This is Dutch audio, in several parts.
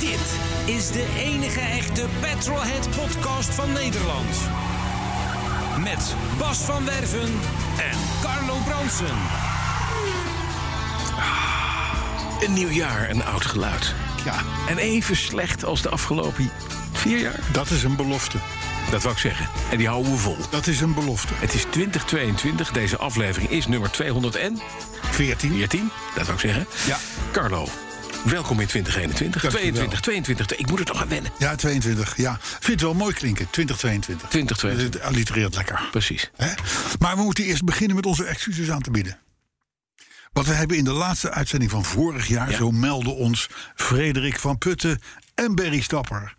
Dit is de enige echte Petrolhead podcast van Nederland. Met Bas van Werven en Carlo Bronsen. Een nieuw jaar, een oud geluid. Ja, En even slecht als de afgelopen vier jaar. dat is een belofte. Dat wou ik zeggen. En die houden we vol. Dat is een belofte. Het is 2022. Deze aflevering is nummer 214. 14. Dat wou ik zeggen. Ja. Carlo, welkom in 2021. Dankjewel. 22, 22. Ik moet het nog aan wennen. Ja, 22. Ja. Vind het wel mooi klinken, 2022. 2022. Het allitereert lekker. Precies. Hè? Maar we moeten eerst beginnen met onze excuses aan te bieden. Want we hebben in de laatste uitzending van vorig jaar, Ja. zo melden ons Frederik van Putten en Berry Stapper.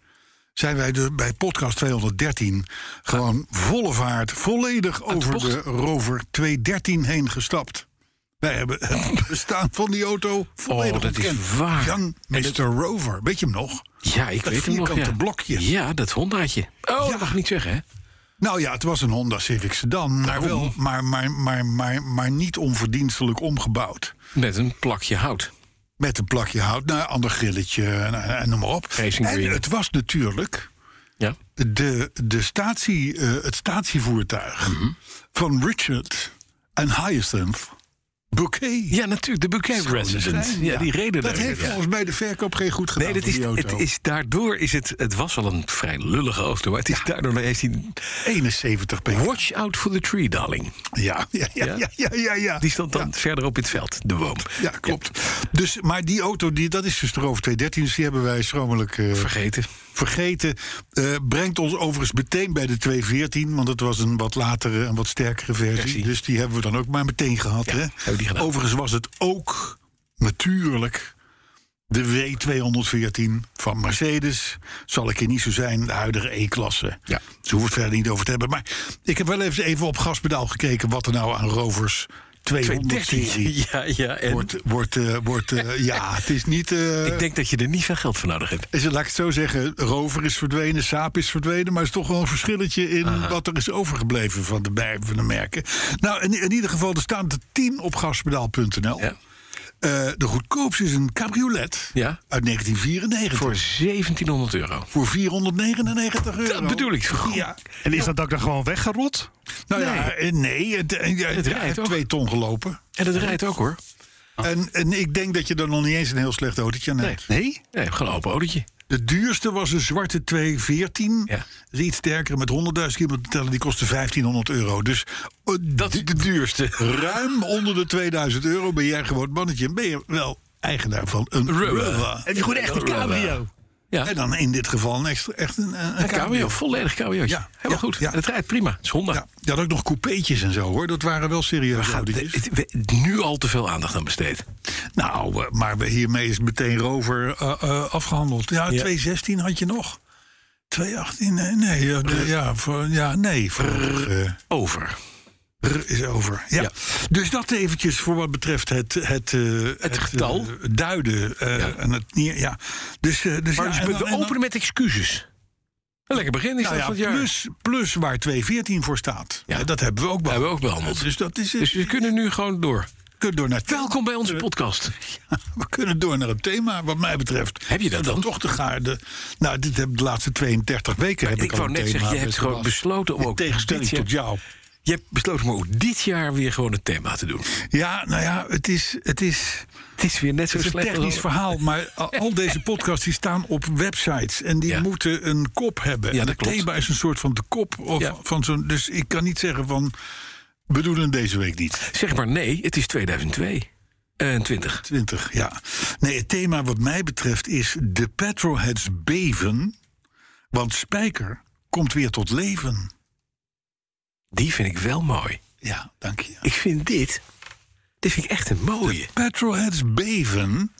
Zijn wij dus bij podcast 213 gewoon volle vaart, volledig over bocht. de Rover 213 heen gestapt. Wij hebben het bestaan van die auto volledig Oh, dat is ontkend. waar. Young Mr. En dat- Rover, weet je hem nog? Ja, ik Dat weet hem nog. vierkante ja. blokje. Ja, dat Hondaatje. Oh, dat mag ik niet zeggen, hè? Nou ja, het was een Honda Civic sedan, maar, wel, maar, maar, maar, maar, maar niet onverdienstelijk omgebouwd. Met een plakje hout. Met een plakje hout, nou, ander grilletje en, en- en noem maar op. Racing en green. het was natuurlijk Ja. de, de statie, eh, het statievoertuig Mhm. van Richard en Hyacinth Bouquet. Ja, natuurlijk. De Bouquet Residence. Ja, die reden Dat daar. heeft Ja. volgens mij de verkoop geen goed gedaan Nee, dat voor is, die auto. het is, daardoor is het... Het was al een vrij lullige auto, maar het is daardoor heeft hij... 71 pk. Watch out for the tree, darling. Ja, ja, ja, Ja? ja, ja, ja, ja. Die stond dan verderop in het veld, de boom. Ja, klopt. Dus, maar die auto, die, dat is dus de Rover 213, dus die hebben wij schromelijk eh, Vergeten. vergeten. Eh, brengt ons overigens meteen bij de 214, want het was een wat latere en wat sterkere versie. Versie. Dus die hebben we dan ook maar meteen gehad. hè? we die gedaan. Overigens was het ook natuurlijk de W214 van Mercedes. Zal ik hier niet zo zijn, de huidige E-klasse. Ja. Dus hoeven we het verder niet over te hebben. Maar ik heb wel even, even op gaspedaal gekeken wat er nou aan Rovers 200 serie 213. Ja, ja. En wordt, wordt, eh, wordt eh, ja, het is niet. eh, ik denk dat je er niet veel geld voor nodig hebt. is het, laat ik het zo zeggen, Rover is verdwenen, Saap is verdwenen... maar er is toch wel een verschilletje in wat er is overgebleven van de, bij- van de merken. Nou, in, in ieder geval, er staan er 10 op gaspedaal.nl. Ja. Eh, de goedkoopste is een cabriolet Ja. uit 1994 Voor voor, 1700 euro. 499 euro. Dat bedoel ik. Goed. Ja, En is dat ook dan gewoon weggerot? nou ja, eh, nee, het, eh, ja, Het ja, rijdt ook. twee ton gelopen. En dat rijdt ook, hoor. En, en ik denk dat je er nog niet eens een heel slecht autootje aan hebt. Nee. Nee, gewoon een open autootje. De duurste was een zwarte 214. Ja. Die iets sterker met 100.000 kilometer tellen. Die kostte 1500 euro. Dus eh, Dat is de duurste. ruim onder de 2000 euro ben jij gewoon mannetje. En ben je wel eigenaar van een Rover. Rover. Heb je gewoon echt een cabrio? Ja. En dan in dit geval een extra, echt een, eh, een, Een cabrio, volledig cabrio. Ja, Helemaal ja, goed. ja. En het rijdt prima. Het is Honda. Ja, die had ook nog coupeetjes en zo hoor. Dat waren wel serieus Gaat- autootjes. het- we- nu al te veel aandacht aan besteed. Nou, eh, maar we- hiermee is meteen Rover eh, eh, afgehandeld. Ja, Ja. 216 had je nog. 218, nee, nee. Ja, de- ja, voor, ja nee. Voor, eh, Over. R is over. Ja. Ja. Dus dat eventjes voor wat betreft het, het, eh, het, getal. eh, duiden. eh, En het, neer- ja. Dus, eh, dus Maar ja, dus en we dan- en dan- openen met excuses. Een lekker begin is nou dat ja, van het jaar. plus, plus waar 214 voor staat. Ja. Ja. Dat hebben we ook Dat behandeld. hebben we ook behandeld. Dus dat is Dus we kunnen nu gewoon door. kunnen door naar Welkom bij onze podcast. We kunnen door naar het thema, wat mij betreft. Heb je dat En dan? toch de gaarde. Nou, dit heb de laatste 32 weken. Heb ik, Ik al wou een net thema, zeggen, je hebt beste gewoon Bas. besloten om In ook tegenstelling dit jaar- tot jou. Je hebt besloten om ook dit jaar weer gewoon het thema te doen. Ja, nou ja, het is. Het is Het is weer net zo Het is een slecht. als- technisch verhaal, maar al- al deze podcasts die staan op websites en die Ja. moeten een kop hebben. Ja, en dat het klopt. thema is een soort van de kop of Ja. van zo'n. Dus ik kan niet zeggen van we doen het deze week niet. Zeg maar nee, het is 2002. En 20. 20, ja. Nee, het thema wat mij betreft is de petrolheads beven. Want Spijker komt weer tot leven. Die vind ik wel mooi. Ja, dank je. Ik vind dit. Dit vind ik echt een mooie. Petrolheads beven,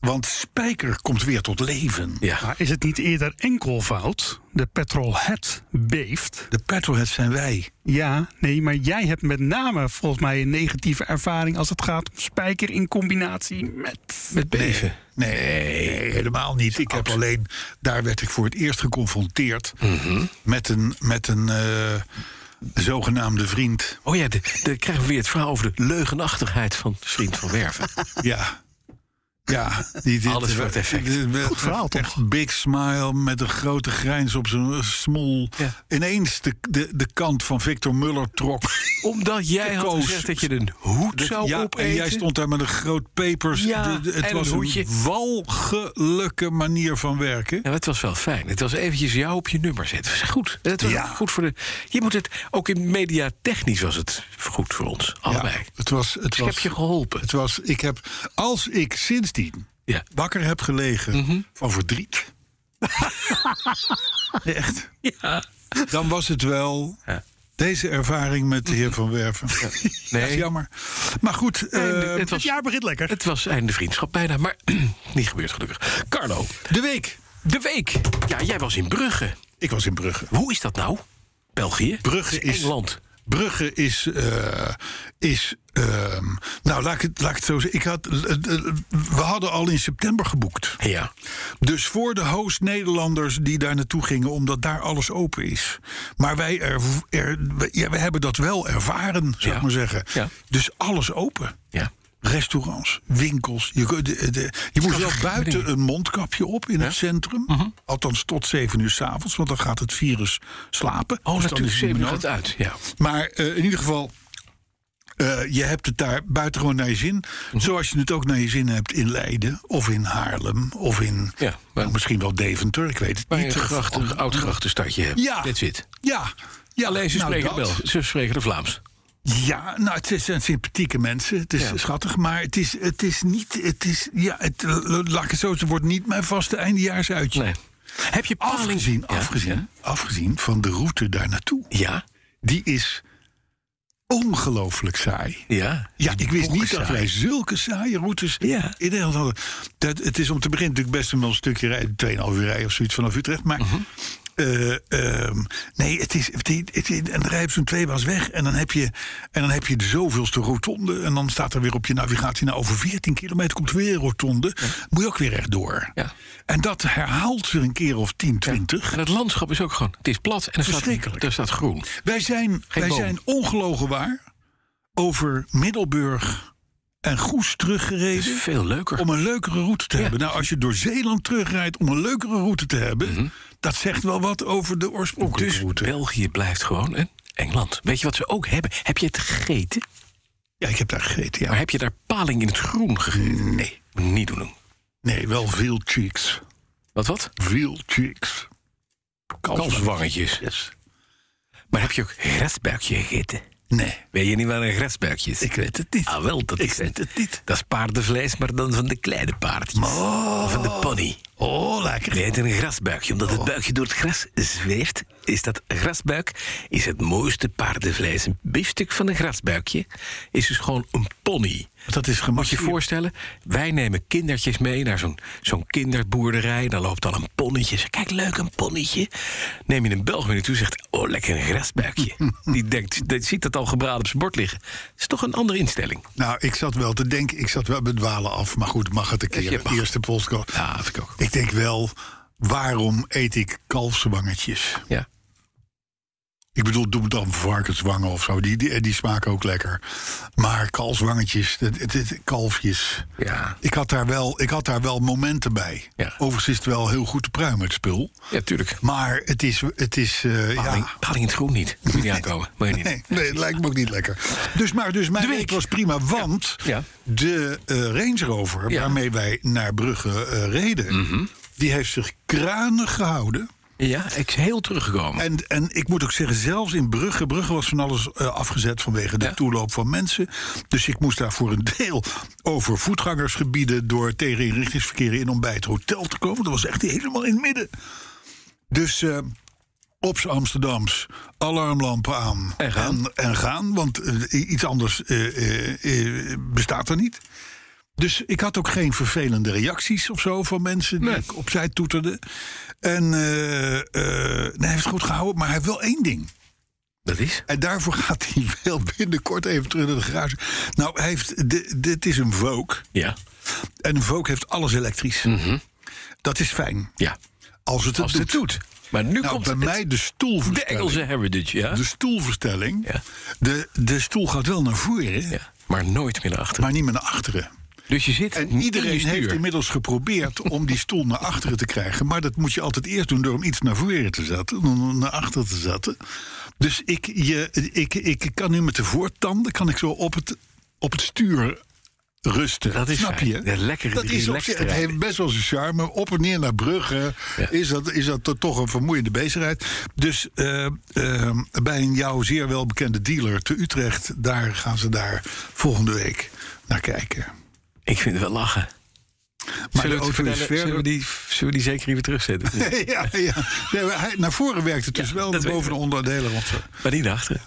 want Spijker komt weer tot leven. Ja. Is het niet eerder enkelvoud? De petrolhead beeft. De petrolheads zijn wij. Ja, nee, maar jij hebt met name volgens mij een negatieve ervaring als het gaat om spijker in combinatie met. Met beven. Nee, nee, helemaal niet. Ik heb alleen, daar werd ik voor het eerst geconfronteerd Mhm. met een, met een eh, zogenaamde vriend. Oh ja, de- dan krijgen we weer het verhaal over de leugenachtigheid van vriend van Werven. Ja. Ja, die, dit, Alles voor het effect. Goed verhaal, toch? Echt big smile met een grote grijns op zijn eh, smoel. Ja. Ineens de, de, de kant van Victor Muller trok. Omdat jij had Koos. gezegd dat je een hoed Dat- zou ja, opeten. En jij stond daar met een groot papers. Ja, De- de- het en was een hoedje. een walgelijke manier van werken. Ja, maar het was wel fijn. Het was eventjes jou op je nummer zetten. Het was goed. Het was Ja. goed voor de... Je moet het... Ook in mediatechnisch was het goed voor ons. Allebei. Ja, het was, het ik was, heb je geholpen. het was, ik heb, als ik sindsdien Ja. Mhm. wakker heb gelegen van verdriet. Echt. Dan was het wel Ja. deze ervaring met de heer Van Werven. Dat is Nee, jammer. Maar goed, eh, het was... jaar begint lekker. Het was einde vriendschap bijna, maar niet gebeurd gelukkig. Carlo, de week. de week. Ja, jij was in Brugge. Ik was in Brugge. Hoe is dat nou? België? Brugge Het is- Engeland. Brugge is. eh, is ehm, nou, laat ik, het, laat ik het zo zeggen. Ik had, eh, eh, we hadden al in september geboekt. Ja. Dus voor de host Nederlanders die daar naartoe gingen, omdat daar alles open is. Maar wij er, er- we, ja, we hebben dat wel ervaren, zou Ja. ik maar zeggen. Ja. Dus alles open. Ja. Oh, Restaurants, winkels. Je, kon- de- de- je moest wel buiten een mondkapje op in het centrum. Mhm. Althans tot 7 uur s'avonds, want dan gaat het virus slapen. Oh, Dus dan natuurlijk, is het niet zeven meer gaat uit. Ja. maar eh, in ieder geval. eh, je hebt het daar buitengewoon naar je zin. Mhm. Zoals je het ook naar je zin hebt in Leiden. Of in Haarlem. Of in Ja, maar- nou, misschien wel Deventer. Ik weet het Waar je niet. een grachtig, oud grachtenstadje hebt. Ja. That's it. Ja. ja. Alleen ze nou, spreken dat. Belgisch. Ze spreken de Vlaams. Ja, nou, het zijn sympathieke mensen. Het is Ja. schattig. Maar het is, het is niet... Het is, ja, het, eh, laat ik het zo zeggen. wordt niet mijn vaste eindejaarsuitje. Nee. Heb je paling... Afgezien, Ja. afgezien, afgezien van de route daar naartoe. Ja. Die is ongelooflijk saai. Ja. Ja, ik wist niet Boekenzaai. dat wij zulke saaie routes Ja. in Nederland hadden. Dat, het is om te beginnen natuurlijk best wel een stukje rijden, 2,5 uur rijden of zoiets vanaf Utrecht. Maar Mhm. eh, ehm, nee, het is, het, het- en dan rij je op zo'n tweebaas weg en dan, heb je, en dan heb je de zoveelste rotonde. En dan staat er weer op je navigatie, nou over 14 kilometer komt weer een rotonde. Moet je ook weer rechtdoor. Ja. En dat herhaalt ze een keer of 10, 20. En het landschap is ook gewoon... Het is plat en er staat, Verschrikkelijk. er staat groen. Wij zijn, wij boom. zijn ongelogen waar over Middelburg en Goes Het is teruggereden. veel leuker. om een leukere route te hebben. Nou, als je door Zeeland terugrijdt om een leukere route te hebben, Mhm. dat zegt wel wat over de oorspronkelijke Dus route. België blijft gewoon een Engeland. Weet je wat ze ook hebben? Heb je het gegeten? Ja, ik heb daar gegeten. Maar Ja. heb je daar paling in het groen gegeten? Nee. Niet doen. Nee, wel veel cheeks. Wat wat? Veel cheeks. Kalfswangetjes. Yes. Maar heb je ook grasbuikje gegeten? Nee, Weet je niet wat een grasbuikje is? ik weet het niet. Ah, wel, dat ik is weet het niet. Dat is paardenvlees, maar dan van de kleine paardjes. Of van de pony. Oh, lekker. Oh. Nee, het is een grasbuikje. Omdat het buikje door het gras zweeft, is dat grasbuik is het mooiste paardenvlees. Een biefstuk van een grasbuikje is dus gewoon een pony. Moet Dat is je je gemasseerd. voorstellen, wij nemen kindertjes mee naar zo'n zo'n kinderboerderij. Daar loopt al een ponnetje. Zeg, kijk, leuk, een ponnetje. Neem je een Belg mee naartoe, zegt, oh, lekker een grasbuikje. Die denkt, die ziet dat al gebraden op zijn bord liggen. Dat is toch een andere instelling. Nou, ik zat wel te denken, ik zat wel met dwalen af. Maar goed, mag het een keer. je mag. Eerste podcast. Ja, dat vind ik ook. Ik denk wel, waarom eet ik kalfswangetjes? Ja. Ik bedoel, doe dan varkenswangen of zo. Die, die, die smaken ook lekker. Maar kalfswangetjes, het, het, het- kalfjes. Ja. Ik had, daar wel, ik had daar wel momenten bij. Ja. Overigens is het wel heel goed te pruimen, het spul. Ja, tuurlijk. Maar het is... Het is eh, Paling, ja. paling in het groen niet. Moet je niet aankomen. Moet je niet. Nee, nee, het lijkt me ook niet lekker. Dus, maar, dus mijn De week. week. was prima, want Ja. de eh, Range Rover... Ja. Mhm. waarmee wij naar Brugge eh, reden... die heeft zich kranig gehouden Ja, ik is heel teruggekomen. En, en ik moet ook zeggen, zelfs in Brugge. Brugge was van alles eh, afgezet vanwege de Ja. toeloop van mensen. Dus ik moest daar voor een deel over voetgangersgebieden. door tegeninrichtingsverkeer in om bij het hotel te komen. Dat was echt helemaal in het midden. Dus. eh op z'n Amsterdams, alarmlampen aan En gaan. en, en gaan want eh, iets anders eh, eh, eh, bestaat er niet. Dus ik had ook geen vervelende reacties of zo van mensen die Nee. ik opzij toeterde. En eh, eh, nee, hij heeft het goed gehouden, maar hij heeft wel één ding. dat is? En daarvoor gaat hij wel binnenkort even terug naar de garage. Nou, hij heeft, di- dit is een Vogue. Ja. En een Vogue heeft alles elektrisch. Dat is fijn, Ja. als het het Mhm. Als doet. het het doet. Maar nu Nou, komt bij het- mij Dus- de de stoelverstelling. Engelse heritage, ja. De stoelverstelling. Ja. De, de stoel gaat wel naar voren, ja. Maar nooit meer naar achteren. maar niet meer naar achteren. dus je zit En niet in je iedereen stuur. heeft inmiddels geprobeerd om die stoel naar achteren te krijgen. Maar dat moet je altijd eerst doen door hem iets naar voren te zetten. Dan om naar achteren te zetten. Dus ik, je, ik, ik kan nu met de voortanden kan ik zo op het, op het stuur rusten. Dat is Snap fijn. je? Ja, lekker dat is op, zich- relaxed het heeft best wel zijn charme. Op en neer naar Brugge Ja. is, dat, is dat toch een vermoeiende bezigheid. Dus eh, eh, bij een jou zeer welbekende dealer te Utrecht... daar gaan ze daar volgende week naar kijken. Ik vind het wel lachen. Maar zullen, we de het auto is vertellen- zullen, we verder. die, zullen we die zeker even terugzetten? Ja, ja. Nee, maar hij, naar voren werkt het dus Ja, wel, dat naar boven weet de ik. onderdelen. want, eh, maar niet naar achteren.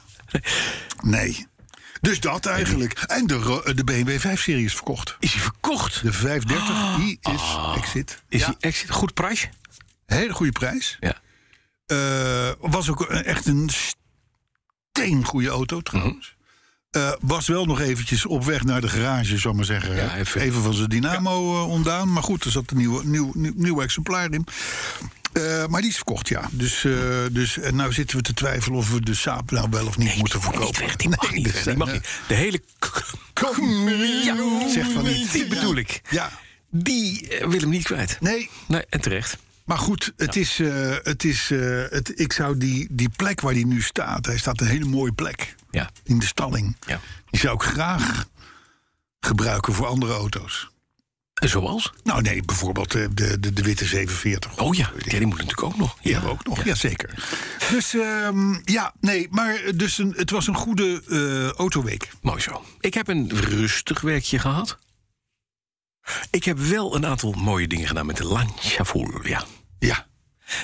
Nee. Dus dat eigenlijk. En de, ro- de BMW 5-serie is verkocht. Is hij verkocht? De 530, die is Ah. exit. Is Ja. die exit goed prijs? Hele goede prijs. Ja. Eh, was ook een- echt een steengoede Mhm. auto trouwens. Eh, was wel nog eventjes op weg naar de garage, zal ik maar zeggen. Ja, even- even van zijn dynamo eh, ontdaan. Maar goed, er zat een nieuwe, nieuw, nieuw, nieuw exemplaar in. Eh, maar die is verkocht, ja. Dus, eh, dus en nou zitten we te twijfelen of we de Saab nou wel of niet moeten verkopen. Niet weg, die mag Nee, niet dat weg. Die zijn, mag eh, niet. De hele... k- Kom, Ja, zegt van niet. Die bedoel ik. Ja, Die eh, wil hem niet kwijt. nee, Nee, en terecht. Maar goed, het is, eh, het is, eh, het, ik zou die, die plek waar hij nu staat, hij staat een hele mooie plek Ja. in de stalling. ja. Die zou ik graag gebruiken voor andere auto's. En zoals? Nou nee, bijvoorbeeld eh, de, de, de witte 47. Oh ja, ja, die moet natuurlijk ook nog. Die hebben we ook nog, jazeker. Dus ehm, ja, nee, maar eh, dus een, het was een goede eh, autoweek. Mooi zo. Ik heb een rustig werkje gehad. Ik heb wel een aantal mooie dingen gedaan met de Lancia Fulvia. Ja,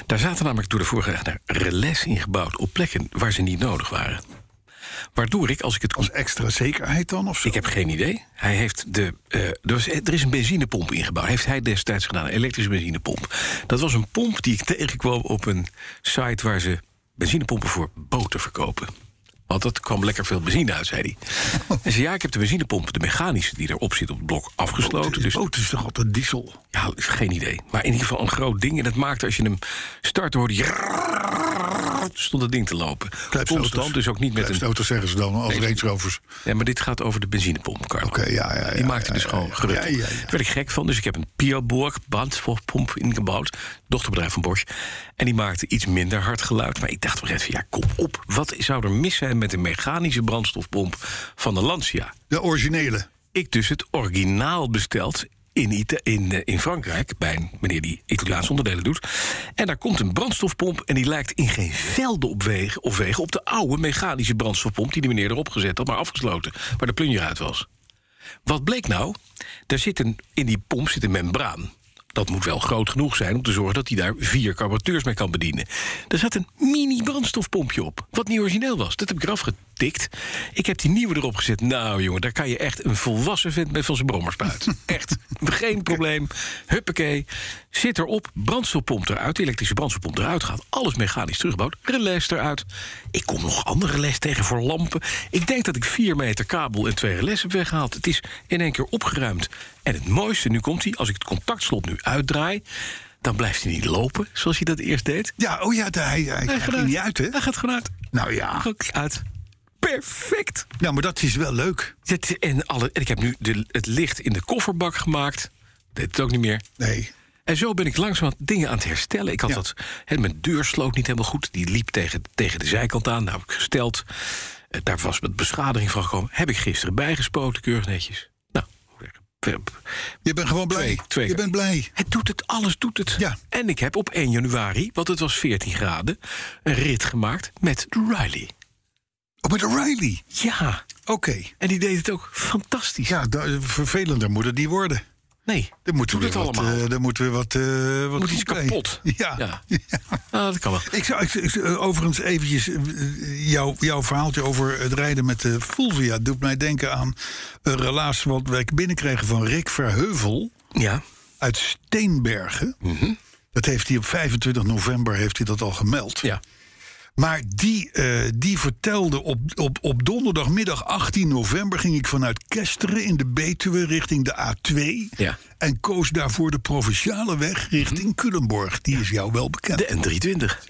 Daar zaten namelijk door de vorige eigenaar relais ingebouwd op plekken waar ze niet nodig waren. Waardoor ik, als ik het kon als extra zekerheid dan of zo. Ik heb geen idee. Hij heeft de, eh, er, was- er is een benzinepomp ingebouwd. Heeft hij destijds gedaan, een elektrische benzinepomp. Dat was een pomp die ik tegenkwam op een site waar ze benzinepompen voor boten verkopen. Want dat kwam lekker veel benzine uit, zei hij. Hij zei, ja, ik heb de benzinepomp, de mechanische die erop zit op het blok, afgesloten. Dus De auto Oh, is toch altijd diesel? ja, geen idee. Maar in ieder geval een groot ding. En dat maakte als je hem startte, hoorde je... stond het ding te lopen. Constant, dus ook niet met een... auto's zeggen ze dan, als Nee, Range Rovers. Ja, maar dit gaat over de benzinepomp, Carlo. Oké, ja, ja, ja, Die maakte ja, dus ja, gewoon ja. gerucht. Ja, op. ja, ja. Daar werd ik gek van, dus ik heb een Piaborg brandstofpomp ingebouwd. Dochterbedrijf van Bosch. En die maakte iets minder hard geluid. Maar ik dacht op een gegeven moment, ja, kom op. Wat zou er mis zijn met een mechanische brandstofpomp van de Lancia? De originele. Ik dus het originaal besteld in, Ita- in, eh, in Frankrijk... bij een meneer die Italiaanse onderdelen doet. En daar komt een brandstofpomp... en die lijkt in geen velden op wegen, of wegen op de oude mechanische brandstofpomp... die die meneer erop gezet had, maar afgesloten. Waar de plunje uit was. Wat bleek nou? Daar zit een, in die pomp zit een membraan. Dat moet wel groot genoeg zijn om te zorgen dat hij daar vier carburateurs mee kan bedienen. Er zat een mini brandstofpompje op, wat niet origineel was. Dat heb ik eraf getikt. Ik heb die nieuwe erop gezet. Nou jongen, daar kan je echt een volwassen vent mee van zijn brommer spuiten. Echt, geen probleem. Huppakee. Zit erop, brandstofpomp eruit, elektrische brandstofpomp eruit gaat. Alles mechanisch teruggebouwd, relais eruit. Ik kom nog andere relais tegen voor lampen. Ik denk dat ik vier meter kabel en twee relais heb weggehaald. Het is in één keer opgeruimd. En het mooiste, nu komt hij, als ik het contactslot nu uitdraai... dan blijft hij niet lopen, zoals hij dat eerst deed. Ja, oh ja, de- hij, hij Hij krijgt gaat er niet uit, hè? Hij gaat gewoon uit. Nou ja, Gewoon uit. Perfect. nou, maar dat is wel leuk. Dit- En, alle, en ik heb nu de, het licht in de kofferbak gemaakt. Deed het ook niet meer. Nee. En zo ben ik langzaam dingen aan het herstellen. Ik had Ja. dat, hè, mijn deur sloot niet helemaal goed. Die liep tegen, tegen de zijkant aan. Nou, heb ik gesteld. Eh, Daar was met beschadiging van gekomen. Heb ik gisteren bijgespoten, keurig netjes. Nou, heb Je bent gewoon blij. Twee- twee je keer. bent blij. Het doet het, alles doet het. Ja. En ik heb op 1 januari, want het was 14 graden, een rit gemaakt met Riley. Oh, met O'Reilly. Ja, Oké. en die deed het ook fantastisch. Oh. Ja, da- vervelender moet het niet worden. Nee, Er moet doe weer het wat, allemaal. eh, er moet weer wat, eh, wat Moet iets goed bij. kapot. Ja. Ja. Ja. Ah, dat kan wel. Ik zou ik, ik- eh, overigens eventjes eh, eh, jouw, jouw verhaaltje over het rijden met de Fulvia doet mij denken aan een relatie wat wij binnenkregen van Rick Verheuvel Ja, uit Steenbergen. Mhm. Dat heeft hij op 25 november heeft hij dat al gemeld. ja. Maar die, eh, die vertelde op, op, op donderdagmiddag 18 november ging ik vanuit Kesteren in de Betuwe richting de A2. Ja. Mhm. En koos daarvoor de provinciale weg richting Culemborg. Die is jou wel bekend. De N320.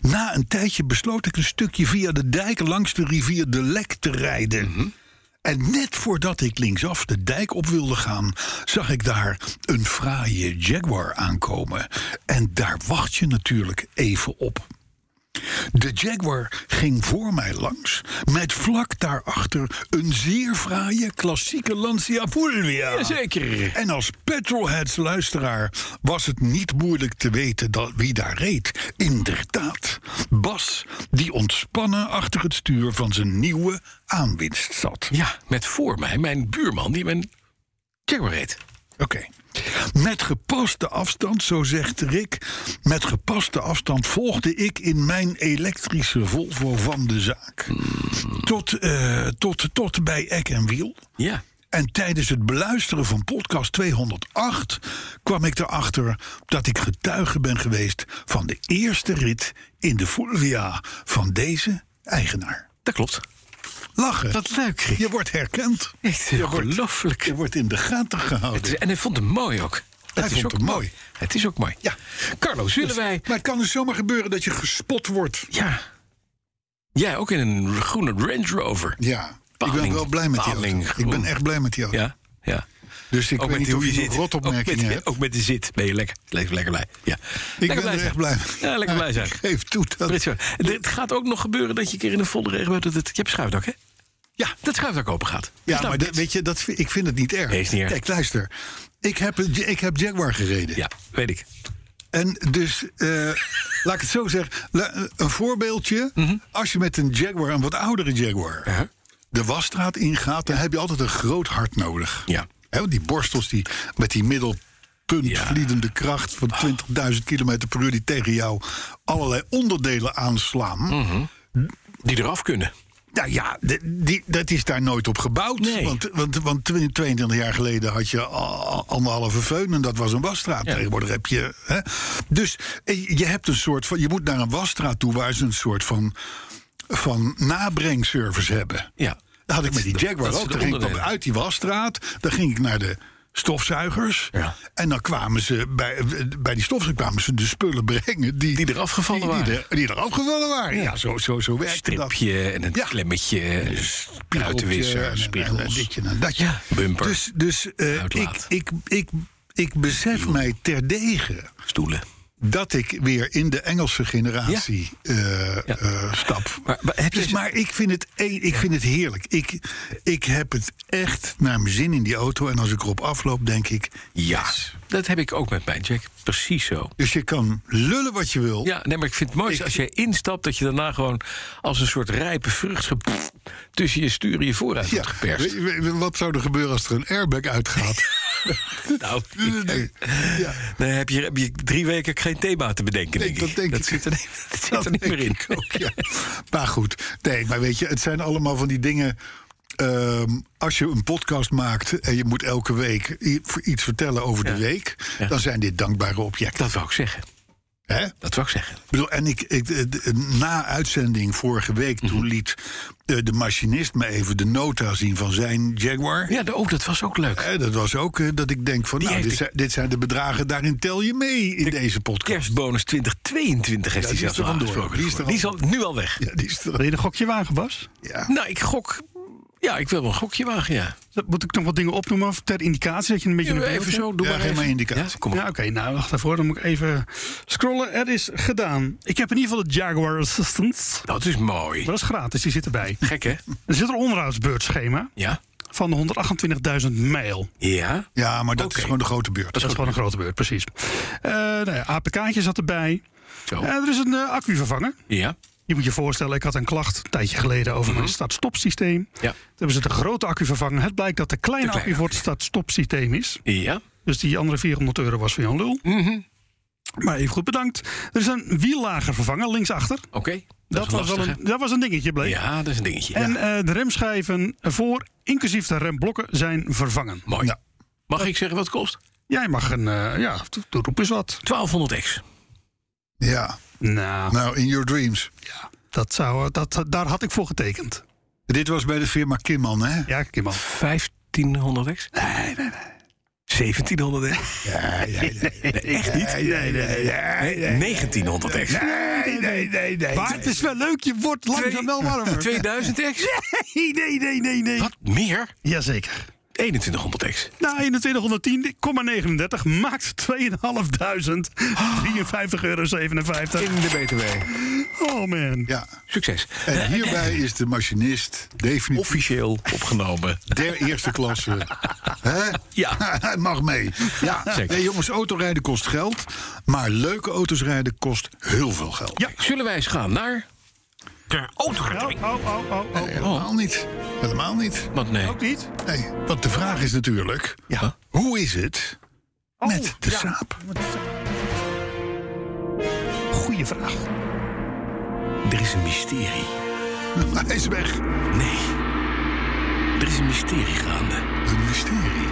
Na een tijdje besloot ik een stukje via de dijk langs de rivier de Lek te rijden. En net voordat ik linksaf de dijk op wilde gaan, zag ik daar een fraaie Jaguar aankomen. En daar wacht je natuurlijk even op. De Jaguar ging voor mij langs, met vlak daarachter een zeer fraaie klassieke Lancia Fulvia. Jazeker. En als Petrolheads luisteraar was het niet moeilijk te weten dat wie daar reed. Inderdaad, Bas, die ontspannen achter het stuur van zijn nieuwe aanwinst zat. Ja, met voor mij mijn buurman die mijn Jaguar reed. Oké. Met gepaste afstand, zo zegt Rick, met gepaste afstand volgde ik in mijn elektrische Volvo van de zaak. Tot, eh, tot, tot bij Eck en Wiel. Ja. En tijdens het beluisteren van podcast 208 kwam ik erachter dat ik getuige ben geweest van de eerste rit in de Fulvia van deze eigenaar. Dat klopt. Lachen. Wat leuk, Rick. Je wordt herkend. Echt Je wordt- ongelooflijk. Je wordt in de gaten Het gehouden. is- En hij vond hem mooi ook. Hij is vond ook hem mooi. Het is ook mooi. Ja. Carlo, zullen wij... Maar het kan dus zomaar gebeuren dat je gespot wordt. Ja. Jij ook in een groene Range Rover. Ja. ik ben Paling. wel blij met die auto. Paling. Ik ben echt blij met die auto. Ja, ja. Dus ik ook weet met niet hoe of je je zit. nog ook rotopmerkingen met, hebt. Ook met de zit ben je lekker, lekker, lekker blij. Ja. Ik lekker ben er zijn. echt blij mee. Ja, lekker blij zijn. Ik Geef toe dat... Prits, hoor. En Het gaat ook nog gebeuren dat je een keer in een volle regen bent. Dat het, je hebt schuifdak, hè? Ja. Dat schuifdak open gaat. Ja, Dus nou, maar dit- dat- weet je, dat, vind- ik vind het niet erg. Nee, is niet erg. Kijk, luister. Ik heb, een- ik heb Jaguar gereden. Ja, weet ik. En dus, eh, laat ik het zo zeggen. la- eh, Een voorbeeldje. Als je met een Jaguar, een wat oudere Jaguar... Mhm. Ja. de wasstraat ingaat, dan heb je altijd een groot hart nodig. Ja. Hè, want die borstels die, met die middelpuntvliedende kracht van 20.000 km per uur... die tegen jou allerlei onderdelen aanslaan. Mhm. Die eraf kunnen. Nou ja, de- die, dat is daar nooit op gebouwd. Nee. Want, want, want 22 jaar geleden had je a- a- anderhalve veun en dat was een wasstraat. Ja. Tegenwoordig heb je. Hè? Dus eh, je hebt een soort van. Je moet naar een wasstraat toe waar ze een soort van, van nabrengservice hebben. Ja. Dat had ik met die de- Jaguar dat is ook. de Dan ging ik dan onderdelen. uit die wasstraat. Dan ging ik naar de stofzuigers. Ja. En dan kwamen ze bij, bij die stofzuigers kwamen ze de spullen brengen die, Die er afgevallen die- die waren. er- die er afgevallen waren. Ja, zo, zo, zo werkte dat Stripje en een Ja. klemmetje. en Een spiegeltje spruitenwisser, en- En, en spiegels. ditje en datje. Ja, bumper. Dus, dus eh, ik, Uitlaat. ik, ik, ik besef mij terdege Stoelen. dat ik weer in de Engelse generatie eh, eh, stap. Maar- maar heb je dus, ze- maar ik vind het, een- ik vind het heerlijk. Ik, ik heb het echt naar mijn zin in die auto. En als ik erop afloop, denk ik... Ja. Dat heb ik ook met mijn Jack. Precies zo. Dus je kan lullen wat je wil. Ja, nee, maar ik vind het mooi als je instapt... dat je daarna gewoon als een soort rijpe vrucht... zo pff, tussen je sturen je vooruit wordt Weet geperst. je- weet je Wat zou er gebeuren als er een airbag uitgaat? Nou, ja. dan heb je, heb je drie weken geen thema te bedenken, Nee, denk dat ik. denk dat ik. Zit er, niet- dat zit Dat er niet meer in. denk ik ook, ja. Maar goed, nee, maar weet je, het zijn allemaal van die dingen. ehm, als je een podcast maakt en je moet elke week i- voor iets vertellen over de week, Ja. dan zijn dit dankbare objecten. Dat wou ik zeggen. Hè? Ik Dat wou ik zeggen. bedoel, en ik, ik, eh, d- na uitzending vorige week, toen Mhm. liet eh, de machinist me even de nota zien van zijn Jaguar. Ja, de- oh, dat was ook leuk. Hè, dat was ook eh, dat ik denk van, nou, heeft dit ik- zijn, dit zijn de bedragen, daarin tel je mee in deze podcast. Kerstbonus 2022 heeft Ja, hij die is zelfs er al vandoor. aangesproken. Die is er Die is al nu al weg. Ja, die is er- Wil je een gokje wagen, Bas? ja. Nou, ik gok... Ja, ik wil wel een gokje wagen, ja. Moet ik nog wat dingen opnoemen of ter indicatie dat je een beetje een beeld Even hebt? zo, doe Ja, maar geef even. maar indicatie. Ja, kom Ja, maar. oké. nou, wacht daarvoor. Dan moet ik even scrollen. Er is gedaan. Ik heb in ieder geval de Jaguar Assistance. Dat is mooi. Maar dat is gratis, die zit erbij. Gek, hè? Er zit een onderhoudsbeurtschema. Ja. van 128.000 mijl. Ja? Ja, maar dat Oké. is gewoon de grote beurt. Dat is gewoon een grote beurt, precies. Eh nou ja, APK'tje zat erbij. Zo. Eh, er is een eh, accu vervangen. Ja? Je moet je voorstellen, ik had een klacht een tijdje geleden over mijn start-stop systeem. Mhm. Ja. Toen hebben ze de grote accu vervangen. Het blijkt dat de kleine, De kleine accu voor het accu. start-stop systeem is. Ja? Dus die andere 400 euro was voor Jan Lul. Maar even goed bedankt. Er is een wiellager vervangen, linksachter. Oké. Dat, is was wel lastig, een, dat was een dingetje, hè? bleek. Ja, dat is een dingetje. En eh, de remschijven voor, inclusief de remblokken, zijn vervangen. Mooi. Ja. Mag ik zeggen wat het kost? Jij mag een, eh, ja, doe- doe- roep eens wat. 1200x. Ja, Nou, nou, in your dreams. ja, dat zou, dat, daar had ik voor getekend. Dit was bij de firma Kimman, hè? Ja, Kimman. 1500x? Nee, nee, nee. 1700x? Ja, ja, ja. Echt niet? Nee, nee, nee. 1900x. Nee, nee, nee, nee. Maar het is wel leuk, je wordt langzaam wel warmer. 2000x? Nee, nee, nee, nee, nee. Wat meer? Jazeker. 2100x. Na 2110,39 maakt 2.553,57 euro. de BTW. Oh man. Ja, Succes. en hierbij is de machinist definitief Officieel opgenomen. der eerste klasse. Hè? Ja. Hij mag mee. Ja. Zeker. Nee, jongens, autorijden kost geld. Maar leuke auto's rijden kost heel veel geld. Ja, zullen wij eens gaan naar... Ter Oh, autovertrekking. oh, oh, oh, oh. Helemaal niet. Helemaal niet. Want nee. Ook niet? Nee, want de vraag is natuurlijk... Ja. Hoe is het Oh, met de ja. saap? Goeie vraag. Er is een mysterie. Hij is weg. Nee. Er is een mysterie gaande. Een mysterie.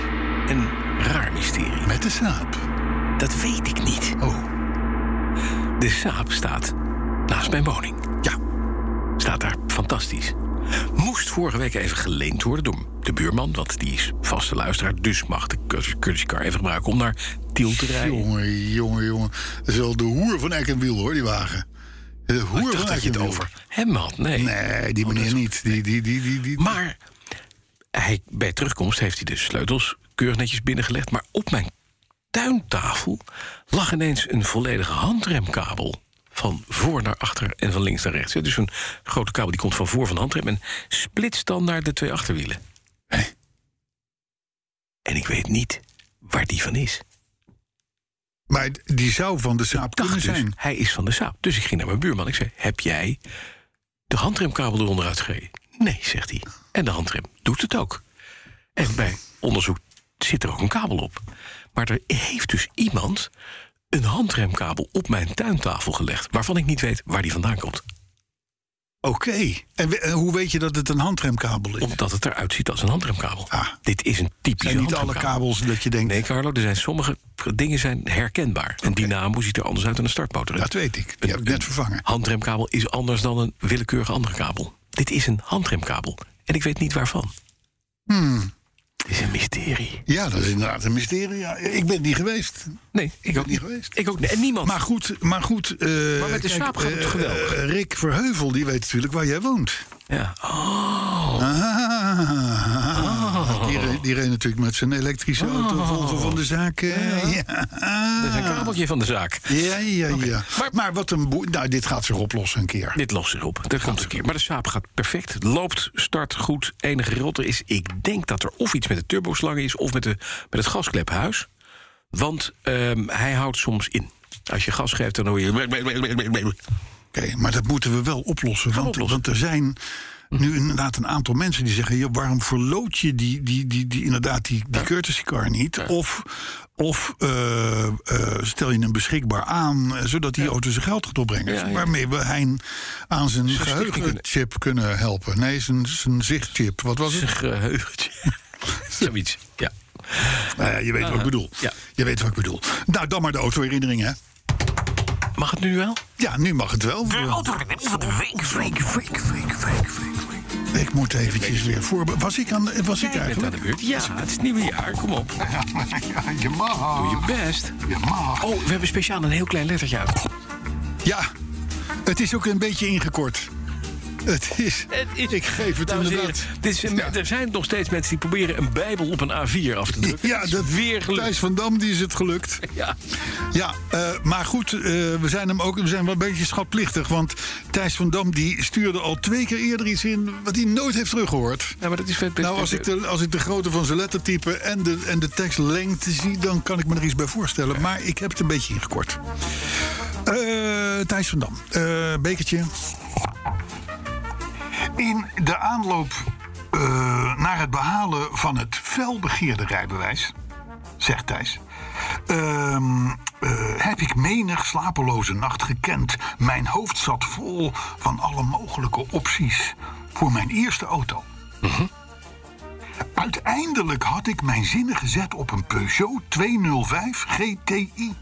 Een raar mysterie. Met de saap. Dat weet ik niet. Oh, De saap staat naast mijn woning. ja. Staat daar fantastisch. Moest vorige week even geleend worden door de buurman, want die is vaste luisteraar. Dus mag de courtesy- courtesy car even gebruiken om naar Tiel te rijden. Jongen, jongen, jongen. Dat is wel de hoer van Eck en Wiel, hoor, die wagen. De Oh, Ik hoer dacht van dat Eck je en het Wiel. over Oh, hem had. Nee. Nee, die meneer niet. Die, die, die, die, die. Maar hij, bij terugkomst heeft hij de sleutels keurig netjes binnengelegd. Maar op mijn tuintafel lag ineens een volledige handremkabel. Van voor naar achter en van links naar rechts. hè. Dus een grote kabel die komt van voor van de handrem... en splitst dan naar de twee achterwielen. En ik weet niet waar die van is. Maar die zou van de saap Dacht kunnen dus, zijn. hij is van de saap. Dus ik ging naar mijn buurman. Ik zei, heb jij de handremkabel eronder uitgereden? Nee, zegt hij. En de handrem doet het ook. En bij onderzoek zit er ook een kabel op. Maar er heeft dus iemand een handremkabel op mijn tuintafel gelegd... waarvan ik niet weet waar die vandaan komt. Oké. En we- en hoe weet je dat het een handremkabel is? Omdat het eruit ziet als een handremkabel. Ah. Dit is een typische Zijn niet alle handremkabel. kabels dat je denkt, Nee, Carlo, er zijn sommige dingen zijn herkenbaar. Een dynamo ziet er anders uit dan een startmotor. dat weet ik. Die heb ik net vervangen. handremkabel is anders dan een willekeurige andere kabel. Dit is een handremkabel. En ik weet niet waarvan. Het is een mysterie. Ja, dat is inderdaad een mysterie. Ja, ik ben niet geweest. Nee, ik ook niet niet. geweest. Ik ook niet. En niemand. Maar goed, maar goed. eh, Maar met de kijk, saap gaat het eh, geweldig. eh, Rick Verheuvel, die weet natuurlijk waar jij woont. Ja. Oh, Ah, die, re- die reed natuurlijk met zijn elektrische auto Volvo van de zaak. eh, ja. dat is een Ah. kabeltje van de zaak. Ja, ja, ja. Maar, Maar- wat een boe... Nou, dit gaat zich oplossen een keer. Dit lost zich op. Dat komt een keer. Maar de saap gaat perfect. Het Loopt, start goed. Enige rotte is, ik denk dat er of iets met de turboslang is... of met, de, met het gasklephuis. Want ehm, hij houdt soms in. Als je gas geeft, dan hoor je... Oké, maar dat moeten we wel oplossen. Want, oplossen. Mhm. want er zijn nu inderdaad een aantal mensen die zeggen... Joh, waarom verloot je die, die, die, die, inderdaad die, die courtesy car niet? Of, of eh, eh, stel je hem beschikbaar aan... eh, zodat die auto zijn geld gaat opbrengen. Ja, ja. Waarmee we Hein aan zijn stichting geheugenchip kunnen helpen. Nee, zijn, zijn zichtchip. Wat was het? Geheugentje. Zoiets, ja. Nou ja, je weet wat ik bedoel. Ah, Ja. Je weet wat ik bedoel. Nou, dan maar de autoherinnering, hè? Mag het nu wel? Ja, nu mag het wel. Ik moet eventjes weer voor. Was ik aan? Was ik Jij bent aan de eigenlijk? beurt. Ja, het is het nieuwe jaar. Kom op. Ja, je mag. Doe je best. Je mag. Oh, we hebben speciaal een heel klein lettertje uit. Ja, het is ook een beetje ingekort. Het is, ik geef het Dames en heren, inderdaad. dit is een- Ja. Er zijn nog steeds mensen die proberen een Bijbel op een A4 af te drukken. Ja, is dat weer gelukt. Thijs van Dam die is het gelukt. Ja. Ja, eh, maar goed, eh, we zijn hem ook we zijn wel een beetje schatplichtig. Want Thijs van Dam die stuurde al twee keer eerder iets in wat hij nooit heeft teruggehoord. Ja, maar dat is Nou, als ik, de, als ik de grootte van zijn lettertype en de, en de tekstlengte zie, dan kan ik me er iets bij voorstellen. Maar ik heb het een beetje ingekort. Eh, Thijs van Dam, eh, bekertje. In de aanloop eh, naar het behalen van het felbegeerde rijbewijs, zegt Thijs. ehm, eh, heb ik menig slapeloze nacht gekend. Mijn hoofd zat vol van alle mogelijke opties voor mijn eerste auto. Uiteindelijk had ik mijn zinnen gezet op een Peugeot 205 GTI.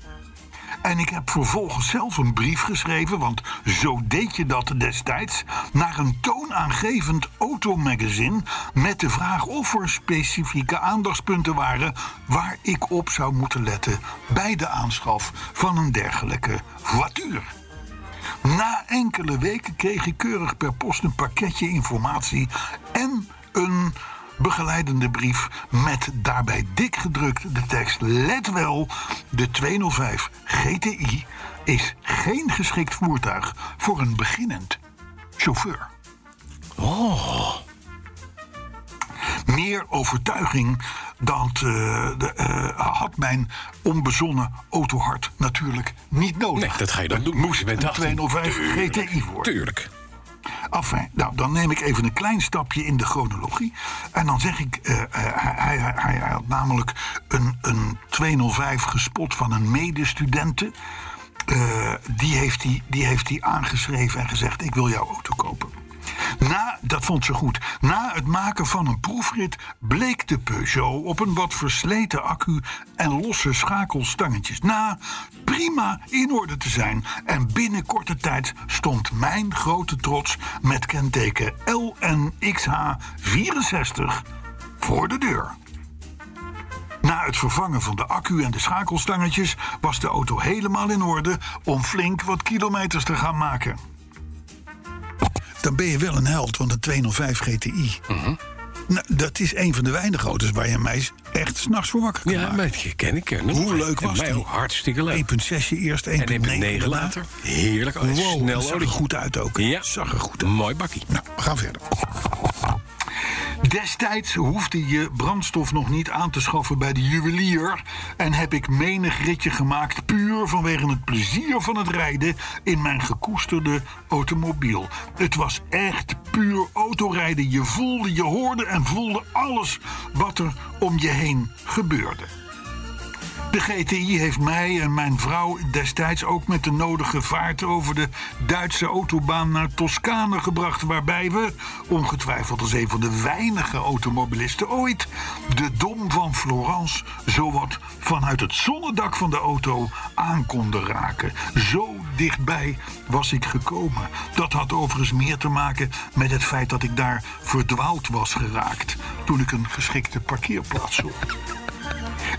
En ik heb vervolgens zelf een brief geschreven, want zo deed je dat destijds, naar een toonaangevend automagazine met de vraag of er specifieke aandachtspunten waren waar ik op zou moeten letten bij de aanschaf van een dergelijke voituur. Na enkele weken kreeg ik keurig per post een pakketje informatie en een begeleidende brief met daarbij dik gedrukt de tekst: Let wel, de 205 GTI is geen geschikt voertuig voor een beginnend chauffeur. Oh. meer overtuiging dat eh, de, eh, had mijn onbezonnen autohart natuurlijk niet nodig. Nee, dat ga je dan Het doen. Moest Je bent een 18. 205 GTI worden. Tuurlijk. Enfin, nou, dan neem ik even een klein stapje in de chronologie. En dan zeg ik, eh, eh, hij, hij, hij, hij had namelijk een, een 205 gespot van een medestudente. Eh, die, heeft hij, die heeft hij aangeschreven en gezegd, ik wil jouw auto kopen. Na, dat vond ze goed. Na het maken van een proefrit bleek de Peugeot op een wat versleten accu en losse schakelstangetjes na prima in orde te zijn. En binnen korte tijd stond mijn grote trots met kenteken LNXH64 voor de deur. Na het vervangen van de accu en de schakelstangetjes was de auto helemaal in orde om flink wat kilometers te gaan maken dan ben je wel een held, want een 205 GTI. Mhm. nou, dat is een van de weinige auto's waar je mij echt s'nachts voor wakker kan Ja, maken. maar die ken ik. ken ik. Hoe leuk En was mij die? ook hartstikke leuk. 1.6 eerst, 1.9 En 1.9 later. Heerlijk. Oh, Wow, snel dat zag er olietje. goed uit ook. Ja. Zag er goed uit. Mooi bakkie. Nou, we gaan verder. Destijds hoefde je brandstof nog niet aan te schaffen bij de juwelier. En heb ik menig ritje gemaakt puur vanwege het plezier van het rijden in mijn gekoesterde automobiel. Het was echt puur autorijden. Je voelde, je hoorde en voelde alles wat er om je heen gebeurde. De GTI heeft mij en mijn vrouw destijds ook met de nodige vaart over de Duitse autobaan naar Toscane gebracht. Waarbij we, ongetwijfeld als een van de weinige automobilisten ooit, de Dom van Florence zowat vanuit het zonnedak van de auto aan konden raken. Zo dichtbij was ik gekomen. Dat had overigens meer te maken met het feit dat ik daar verdwaald was geraakt toen ik een geschikte parkeerplaats zocht.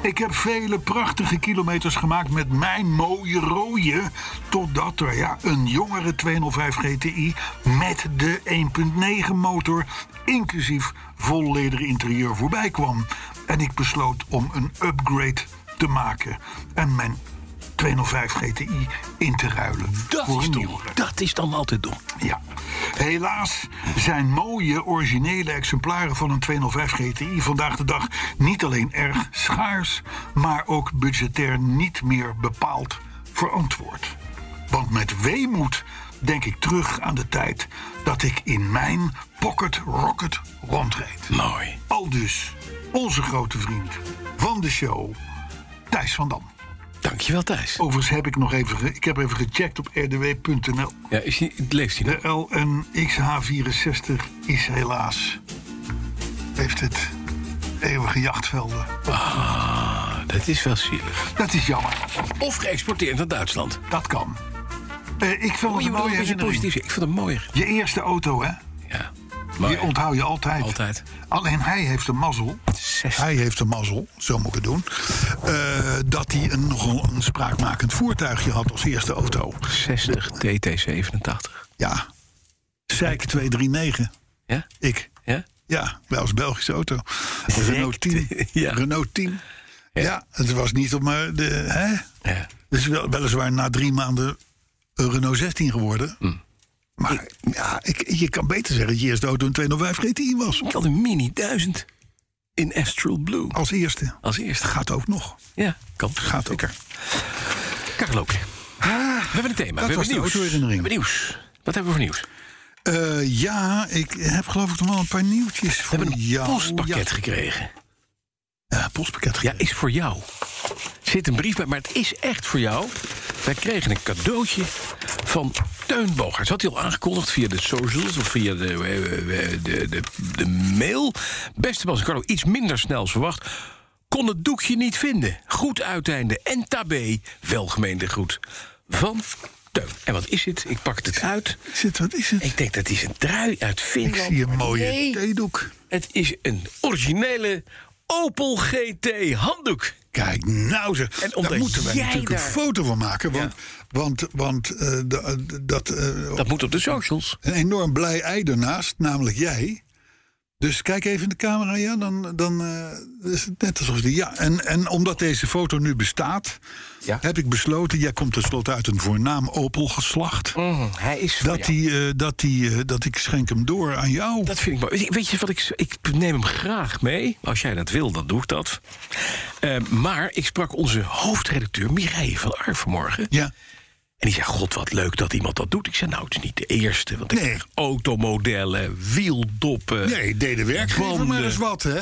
Ik heb vele prachtige kilometers gemaakt met mijn mooie rode. Totdat er ja, een jongere 205 GTI met de 1.9 motor, inclusief vol leder interieur, voorbij kwam. En ik besloot om een upgrade te maken. En mijn 205 GTI in te ruilen. voor een nieuwere. dat is dan altijd doen. Ja. Helaas zijn mooie originele exemplaren van een 205 GTI vandaag de dag niet alleen erg schaars, maar ook budgetair niet meer bepaald verantwoord. Want met weemoed denk ik terug aan de tijd dat ik in mijn Pocket Rocket rondreed. Mooi. Al dus onze grote vriend van de show, Thijs van Dam. Dankjewel, Thijs. Overigens heb ik nog even, ge- ik heb even gecheckt op rdw.nl. Ja, is die, leeft hij nog? De LNXH64 is helaas. heeft het eeuwige jachtvelden. Ah, dat is wel zielig. Dat is jammer. Of geëxporteerd naar Duitsland. Dat kan. Eh, ik Maar vond het je een moet ook mooie een beetje herinnering. positief zijn. Ik vind het mooier. Je eerste auto, hè? Ja. Die Maar onthoud je altijd. altijd. Alleen hij heeft een mazzel. Hij heeft een mazzel, zo moet ik het doen. eh, dat hij een, nogal een spraakmakend voertuigje had als eerste auto. 60 TT87. Ja. Zeik 239. Ja? Ik. Ja? Ja, bij als Belgische auto. Renault 10. ja. Renault 10. Ja. het was niet op maar de. Hè? Ja. Het is wel, weliswaar na drie maanden een Renault 16 geworden. Mm. Maar ja, ik, je kan beter zeggen dat je eerste auto een 205 GTI was. Ik had een Mini 1000 in Astral Blue. Als eerste. Als eerste. Gaat ook nog. Ja, kan. Gaat ook. Ah, Carlo. We hebben een thema. dat we was de hebben nieuws. We autoherinnering. hebben nieuws. Wat hebben we voor nieuws? We Eh, ja, ik heb geloof ik nog wel een paar nieuwtjes voor hebben een jou. postpakket Oh, Ja, gekregen. Ja, postpakket. Ja, is voor jou. Er zit een brief bij, maar het is echt voor jou. Wij kregen een cadeautje van Teun Bogaerts. Had hij al aangekondigd via de socials of via de, eh, eh, de, de, de mail. Beste Bas en Carlo, iets minder snel als verwacht. Kon het doekje niet vinden. Goed uiteinde en tabé. Welgemeende groet van Teun. En wat is het? Ik pak het uit. Zit, wat is het? Ik denk dat is een trui uit Ik Finland. zie een mooie Nee. theedoek. Het is een originele Opel GT handdoek. Kijk, nou ze. En omdat daar moeten wij jij natuurlijk daar- een foto van maken. Want, want, want eh, da- dat, eh, Dat moet op de socials. een enorm blij ei ernaast, namelijk jij. Dus kijk even in de camera, ja, dan, dan eh, is het net alsof die... Ja, en, en omdat deze foto nu bestaat, Ja. heb ik besloten... Jij komt tenslotte uit een voornaam Opel-geslacht. Oh, Mhm. hij is voor Dat, jou. die, eh, dat, die, eh, dat ik schenk hem door aan jou. Dat vind ik mooi. Weet je wat ik. Ik neem hem graag mee. Als jij dat wil, dan doe ik dat. Eh, maar ik sprak onze hoofdredacteur Mireille van Ar vanmorgen. Ja, En die zei: God, wat leuk dat iemand dat doet. Ik zei: Nou, het is niet de eerste. Want ik Nee. krijg automodellen, wieldoppen. nee, deed de werkgever maar Banden. eens wat, hè?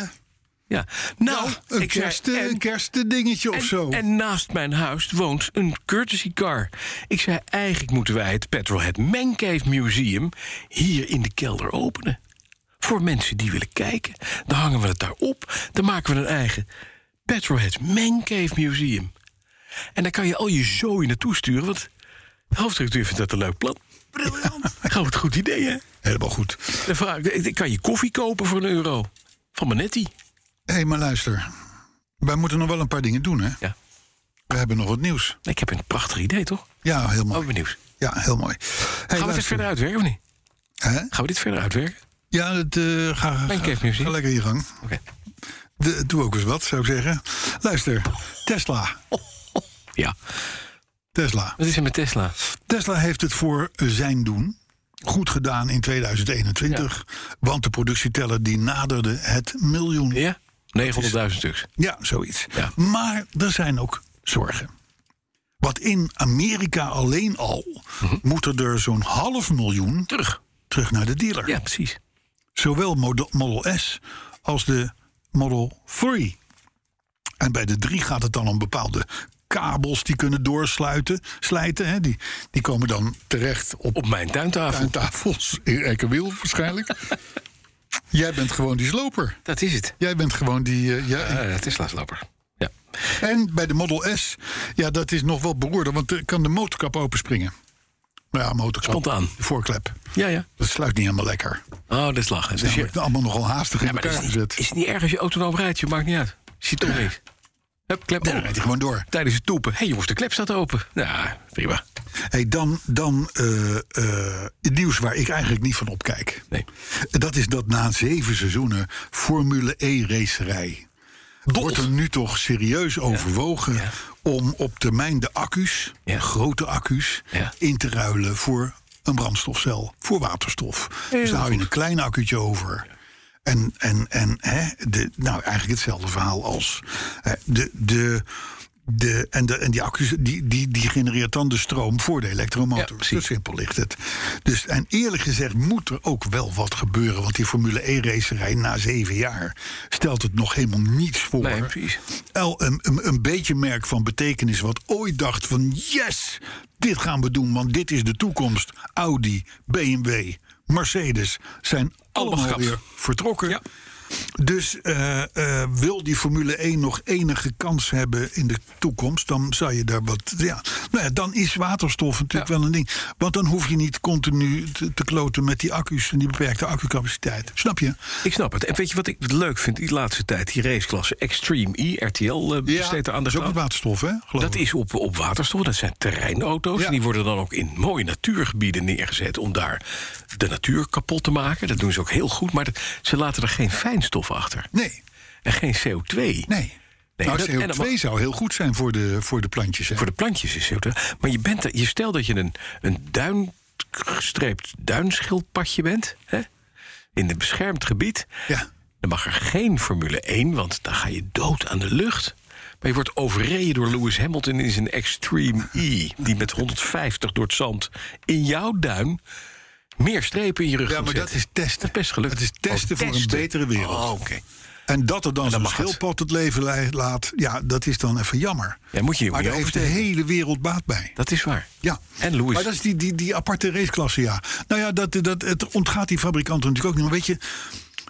Ja. Nou, Ja, een ik zei, kerst, eh, en- een kerstdingetje of en, zo. En naast mijn huis woont een courtesy car. Ik zei, eigenlijk moeten wij het Petrolhead Mancave Museum... hier in de kelder openen. Voor mensen die willen kijken. Dan hangen we het daar op. Dan maken we een eigen Petrolhead Mancave Museum. En daar kan je al je zooi naartoe sturen... want de hoofdredacteur vindt dat een leuk plan. Briljant. Gewoon een goed idee, hè? Helemaal goed. Dan vraag ik, ik kan je koffie kopen voor een euro. Van Manetti. Hé, hey, maar luister. Wij moeten nog wel een paar dingen doen, hè? Ja. We hebben nog wat nieuws. Ik heb een prachtig idee, toch? Ja, heel Oh, mooi. ik ben benieuwd. Ja, heel mooi. Hey, Gaan we dit luister. verder uitwerken of niet? Hè? Gaan we dit verder uitwerken? Ja, dat, eh ga, ga, Mijn Cave Museum. ga lekker je gang. Oké. De- doe ook eens wat, zou ik zeggen. Luister, Tesla. Ja. Tesla. Wat is er met Tesla? Tesla heeft het voor zijn doen goed gedaan in 2021. Want de productieteller die naderde het miljoen. Ja? 900.000 stuks. Ja, zoiets. Ja. Maar er zijn ook zorgen. Want in Amerika alleen al moeten er dus zo'n half miljoen Mhm. Terug. terug naar de dealer. Ja, precies. Zowel Model, Model S als de Model 3. En bij de 3 gaat het dan om bepaalde kabels die kunnen doorsluiten. Slijten, hè? Die, die komen dan terecht op Op mijn tuintafel. tuintafels in Ekenwiel waarschijnlijk. Jij bent gewoon die sloper. Dat is het. Jij bent gewoon die... eh, ja, Eh Tesla's loper. Ja. En bij de Model S, ja, dat is nog wel behoorlijk, want er kan de motorkap openspringen. Nou ja, motorkap. Spontaan. De voorklep. Ja, ja. Dat sluit niet helemaal lekker. Oh, dat is lachen. Dat Dus is je, allemaal nogal haastig in ja, maar dat elkaar is, gezet. niet, is het niet erg als je autonoom rijdt? Je maakt niet uit. Ziet toch niks. Hup, klep. Dan rijdt hij gewoon door. Tijdens het toepen. Hé, hey, jongens, de klep staat open. Ja, prima. Hey, dan dan eh, eh, het nieuws waar ik eigenlijk niet van opkijk. Nee. Dat is dat na zeven seizoenen Formule E E-racerij... wordt er nu toch serieus overwogen om op termijn de accu's... Ja. grote accu's, Ja. in te ruilen voor een brandstofcel, voor waterstof. dus dan hou je een klein accu'tje over. En, en, en hè, de, nou, eigenlijk hetzelfde verhaal als hè, de... de de, en, de, en die accu's die, die, die genereert dan de stroom voor de Ja, elektromotor. precies. Zo simpel ligt het. Dus, en eerlijk gezegd moet er ook wel wat gebeuren. Want die Formule E-racerij na zeven jaar stelt het nog helemaal niets voor. Nee, precies. El, een, een, een beetje merk van betekenis wat ooit dacht van... yes, dit gaan we doen, want dit is de toekomst. Audi, BMW, Mercedes zijn allemaal gekapt. weer vertrokken. Ja. Dus eh, eh, wil die Formule 1 nog enige kans hebben in de toekomst, dan zou je daar wat. Ja, nou ja, dan is waterstof natuurlijk wel een ding. Want dan hoef je niet continu te, te kloten met die accu's en die beperkte accucapaciteit. Snap je? Ik snap het. En weet je wat ik leuk vind? Die laatste tijd, die raceklasse Extreme E, RTL, eh, besteedt er aan de dat aandacht is ook met aan. waterstof, hè? Geloof Dat ik. is op, op waterstof, dat zijn terreinauto's. Ja. En die worden dan ook in mooie natuurgebieden neergezet om daar de natuur kapot te maken. Dat doen ze ook heel goed, maar dat- ze laten er geen fijnstof achter. Nee, En geen CO2. nee. Nee, nou, dat- en CO2 dan- zou heel goed zijn voor de, voor de plantjes. Hè? Voor de plantjes is CO2. Maar je, bent, er- je stelt dat je een, een duin, gestreept duinschildpadje bent, hè? in een beschermd gebied. Ja. Dan mag er geen Formule 1, want dan ga je dood aan de lucht. Maar je wordt overreden door Lewis Hamilton in zijn Extreme E. Die met 150 door het zand in jouw duin meer strepen in je rug Ja, moet maar dat zetten. is testen. Dat is best gelukt. Dat is testen voor een betere wereld. Oh, oké. En dat er dan, dan zo'n mag het. schildpad het leven lei- laat, ja, dat is dan even jammer. Ja, moet je je maar niet daar heeft de oversteken. hele wereld baat bij. Dat is waar. Ja. En Lewis. Maar dat is die, die, die aparte raceklasse, ja. Nou ja, dat, dat, het ontgaat die fabrikanten natuurlijk ook niet. Maar weet je,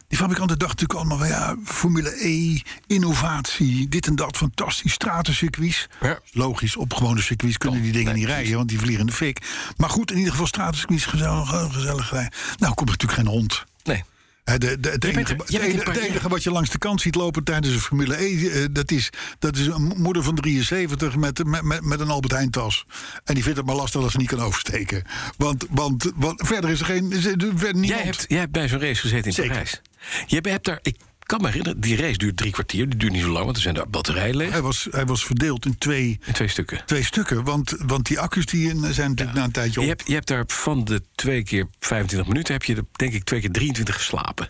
die fabrikanten dachten natuurlijk allemaal... van, ja, Formule E, innovatie, dit en dat, fantastisch, stratencircuits. Ja. Logisch, op gewone circuits kunnen die dingen niet rijden... want die vliegen in de fik. Maar goed, in ieder geval stratencircuits, gezellig, gezellig rijden. Nou, komt er natuurlijk geen hond. Nee. Hè, de, de, het, bent enige, er- het jij bent in enige- het Parijs. enige wat je langs de kant ziet lopen tijdens een Formule E, eh, dat, is, dat is een moeder van 73 met, met, met, met een Albert Heijn tas. En die vindt het maar lastig dat ze niet kan oversteken. Want, want, want verder is er geen. is er verder niemand. Jij hebt, jij hebt bij zo'n race gezeten in Zeker. Parijs. Jij hebt daar, ik kan me herinneren, die race duurt drie kwartier. Die duurt niet zo lang, want er zijn daar batterijen leeg. hij, was, hij was verdeeld in twee, In twee stukken. twee stukken. Want, want die accu's die in zijn natuurlijk na een Je tijdje op. hebt, je hebt daar van de twee keer 25 minuten, heb je er, denk ik twee keer 23 geslapen.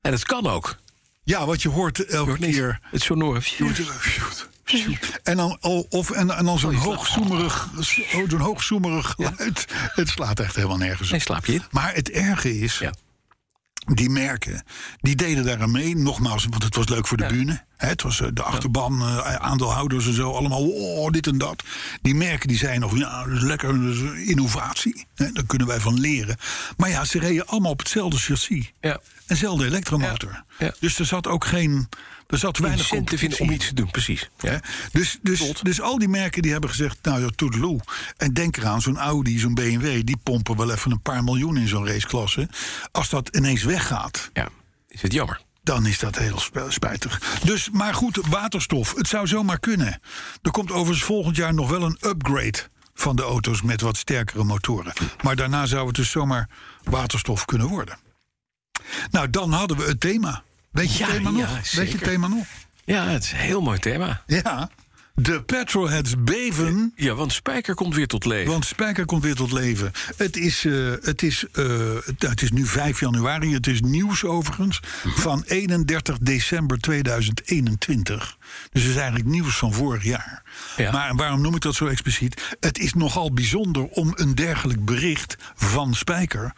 En dat kan ook. Ja, wat je hoort elke Door keer. het, het sonore. En dan, al- of, en, en dan Oh, zo'n hoogzoemerig, zo- zo'n hoogzoemerig geluid. Het slaat echt helemaal nergens op. Nee, slaap je in. Maar het erge is, Ja. die merken, die deden daaraan mee. Nogmaals, want het was leuk voor de bühne. Hè, het was eh, de achterban, eh, aandeelhouders en zo. Allemaal, oh, dit en dat. Die merken, die zijn nog, ja, dat is lekker, dat is innovatie. Hè, daar kunnen wij van leren. Maar ja, ze reden allemaal op hetzelfde chassis. Ja. Eenzelfde elektromotor. Ja. Ja. Dus er zat ook geen... Er zat weinig Weinig te vinden om iets competitie. te doen, precies. Hè? Dus, dus, dus al die merken die hebben gezegd, nou ja, toedeloe. En denk eraan, zo'n Audi, zo'n BMW... die pompen wel even een paar miljoen in zo'n raceklasse. Als dat ineens weggaat, Ja, is het jammer. dan is dat heel sp- spijtig. Dus, maar goed, waterstof, het zou zomaar kunnen. Er komt overigens volgend jaar nog wel een upgrade van de auto's... met wat sterkere motoren. Maar daarna zou het dus zomaar waterstof kunnen worden. Nou, dan hadden we het thema. Weet je Ja, het thema ja, nog? Weet je zeker. het thema nog? Ja, het is een heel mooi thema. Ja, de petrolheads beven... Ja, want Spijker komt weer tot leven. Want Spijker komt weer tot leven. Het is, eh, het is, eh, het- nou, het is nu 5 januari. Het is nieuws overigens Mhm. van 31 december 2021. Dus het is eigenlijk nieuws van vorig jaar. Ja. Maar waarom noem ik dat zo expliciet? Het is nogal bijzonder om een dergelijk bericht van Spijker...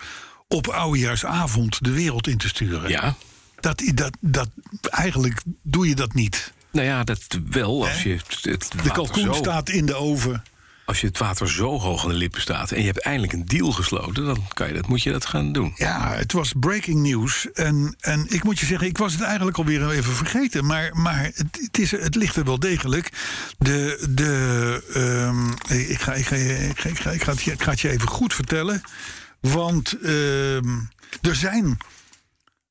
op oudejaarsavond de wereld in te sturen. Ja. Dat, dat, dat, eigenlijk doe je dat niet. Nou ja, dat wel als je het, het De water kalkoen zo- staat in de oven. Als je het water zo hoog aan de lippen staat en je hebt eindelijk een deal gesloten, dan kan je dat, moet je dat gaan doen. Ja, het was breaking news. En, en ik moet je zeggen, ik was het eigenlijk alweer even vergeten. Maar, maar het, het, is, het ligt er wel degelijk. De, de, ehm, ik, ga, ik, ga, je- ik, ga, ik, ga, ik, ga het je, ik ga het je even goed vertellen. Want ehm, er zijn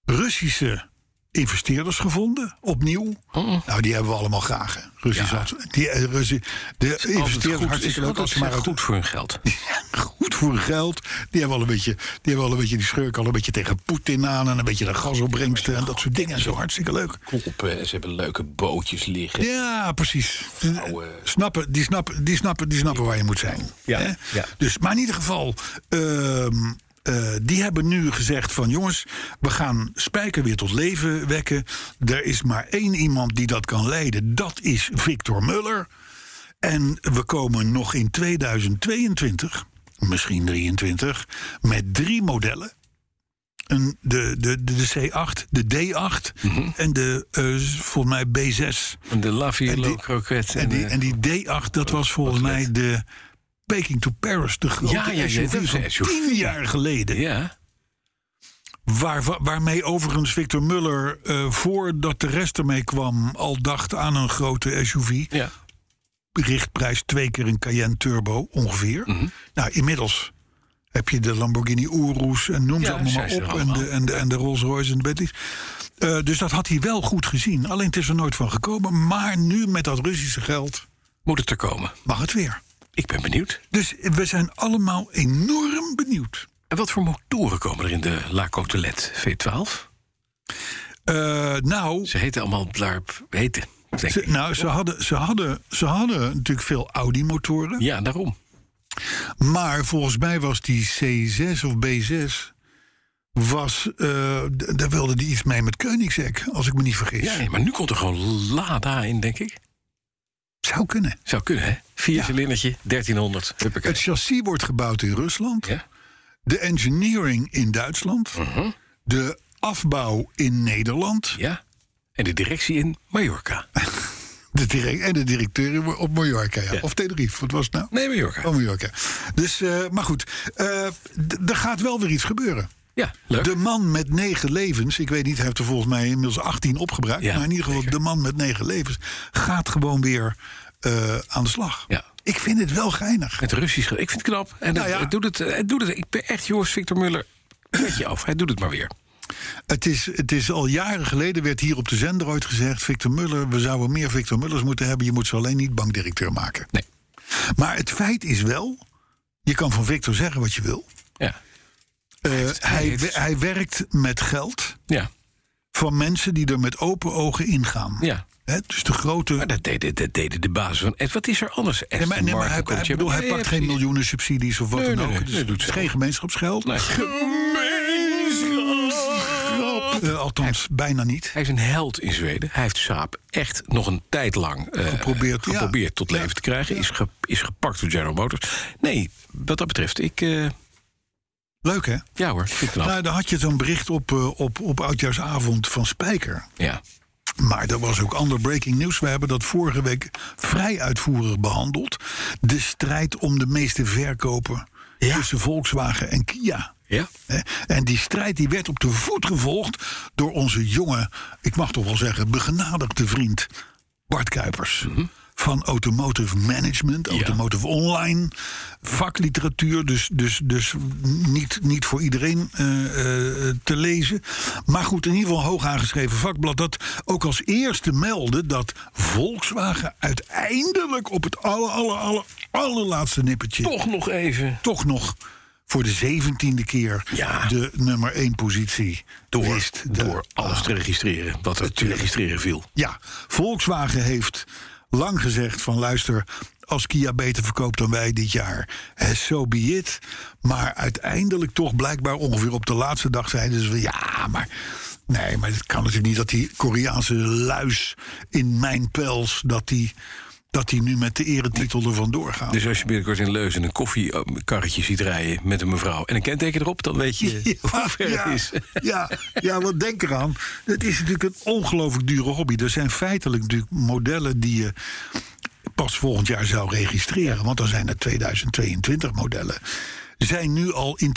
Russische investeerders gevonden, opnieuw. Oh. Nou, die hebben we allemaal graag. hè. Russische, adv- die, eh, Russi- de Altijd investeerders goed, hartstikke is leuk. als altijd ze maar uit- goed voor hun geld. goed voor geld. Die hebben al een beetje, die hebben al een beetje die schurken al een beetje tegen Poetin aan en een beetje de gasopbrengsten en dat soort dingen. Zo hartstikke leuk. Kloppen eh, en ze hebben leuke bootjes liggen. Ja, precies. Eh, Snappen, die snappen, die snappen, die snappen waar je moet zijn. Ja, Hè? ja. Dus, maar in ieder geval, ehm, eh, die hebben nu gezegd van jongens, we gaan Spijker weer tot leven wekken. Er is maar één iemand die dat kan leiden. Dat is Victor Muller. En we komen nog in 2022, misschien 23, met drie modellen. Een, de, de, de, de C8, de D8 Mhm. en de eh, volgens mij B6. En de En Laviello die- croquet. eh, En die, en die D8, dat was volgens mij de Peking to Paris, de grote Ja, ja, ja, SUV dat is van een SUV. tien jaar geleden. ja, Waar, wa- waarmee overigens Victor Muller, eh, voordat de rest ermee kwam, al dacht aan een grote SUV. Ja. Richtprijs twee keer een Cayenne Turbo ongeveer. Mhm. Nou, inmiddels heb je de Lamborghini Urus en noem Ja, ze allemaal zijn maar ze er op. En allemaal. de, en, de, en de Rolls Royce en de Bentleys. Eh, dus dat had hij wel goed gezien. Alleen het is er nooit van gekomen. Maar nu met dat Russische geld Moet het er komen? mag het weer. Ik ben benieuwd. Dus we zijn allemaal enorm benieuwd. En wat voor motoren komen er in de La Cotelet V12? Eh, nou, Ze heten allemaal Blarp. Heten, denk ze, ik. nou ze, hadden, ze, hadden, ze hadden natuurlijk veel Audi-motoren. Ja, daarom. Maar volgens mij was die C6 of B6... Was, eh, d- daar wilde die iets mee met Koenigsegg, als ik me niet vergis. Ja, maar nu komt er gewoon Lada in, denk ik. Zou kunnen. Zou kunnen, hè? Vier cilindertje, 1300. Huppakee. Het chassis wordt gebouwd in Rusland. Ja. De engineering in Duitsland. Uh-huh. De afbouw in Nederland. ja. En de directie in Mallorca. De direct, en de directeur op Mallorca. Ja. Of Tenerife, wat was het nou? Nee, Mallorca. Oh, Mallorca. Dus, eh, maar goed, eh, d- er gaat wel weer iets gebeuren. Ja, leuk. De man met negen levens, ik weet niet, hij heeft er volgens mij inmiddels 18 opgebruikt. Ja, maar in ieder geval, de man met negen levens gaat gewoon weer eh, aan de slag. Ja. Ik vind het wel geinig. Het Russisch. ge- Ik vind het knap. En Nou het, ja. het doet het, het doet het. Ik ben echt, jongens, Victor Muller. Zet je af. Hij doet het maar weer. Het is, het is al jaren geleden, werd hier op de zender ooit gezegd... Victor Muller, we zouden meer Victor Mullers moeten hebben. Je moet ze alleen niet bankdirecteur maken. Nee. Maar het feit is wel, je kan van Victor zeggen wat je wil. Ja. Eh, hij hij, heeft- hij werkt met geld Ja. van mensen die er met open ogen ingaan. Ja. Hè, dus de grote... Maar dat deden, dat deden de basis van. Ed, Wat is er anders? Aston Nee, maar, nee, maar Martin hij, komt hij- je- bedoel, hij Nee, pakt geen precies. miljoenen subsidies of wat Nee, dan nee, ook. nee, dus nee, het doet is ze. geen gemeenschapsgeld. Nee. Eh, althans, bijna niet. Hij is een held in Zweden. Hij heeft Saab echt nog een tijd lang eh, Geprobeerd, ja. geprobeerd tot leven te krijgen. Is, ge- is gepakt door General Motors. Nee, wat dat betreft, ik... eh, Leuk, hè? ja hoor, vind ik knap. Nou, daar had je zo'n bericht op, eh, op, op Oudjaarsavond van Spijker. ja. Maar er was ook ander breaking nieuws. We hebben dat vorige week vrij uitvoerig behandeld. De strijd om de meeste verkopen tussen Volkswagen en Kia. Ja. Hè? En die strijd die werd op de voet gevolgd door onze jonge, ik mag toch wel zeggen, begenadigde vriend Bart Kuipers. Van automotive management, automotive online, vakliteratuur. Dus, dus, dus niet, niet voor iedereen eh, eh, te lezen. Maar goed, in ieder geval een hoog aangeschreven vakblad. Dat ook als eerste meldde dat Volkswagen uiteindelijk op het aller, aller, aller, allerlaatste nippertje Toch nog even. toch nog voor de zeventiende keer Ja. de nummer één positie Door, wist. De- door alles te registreren wat er te registreren viel. Ja, Volkswagen heeft lang gezegd van luister, als Kia beter verkoopt dan wij dit jaar, hè, so be it. Maar uiteindelijk toch blijkbaar ongeveer op de laatste dag zeiden ze van ja, maar nee, maar het kan natuurlijk niet dat die Koreaanse luis in mijn pels dat die dat die nu met de eretitel er vandoor gaat. Dus als je binnenkort in Leuzen een koffiekarretje ziet rijden met een mevrouw... en een kenteken erop, dan weet je hoe ver ja, het is. Ja, ja, want denk eraan. Het is natuurlijk een ongelooflijk dure hobby. Er zijn feitelijk natuurlijk modellen die je pas volgend jaar zou registreren. Want dan zijn er 2022 modellen. Zijn nu al in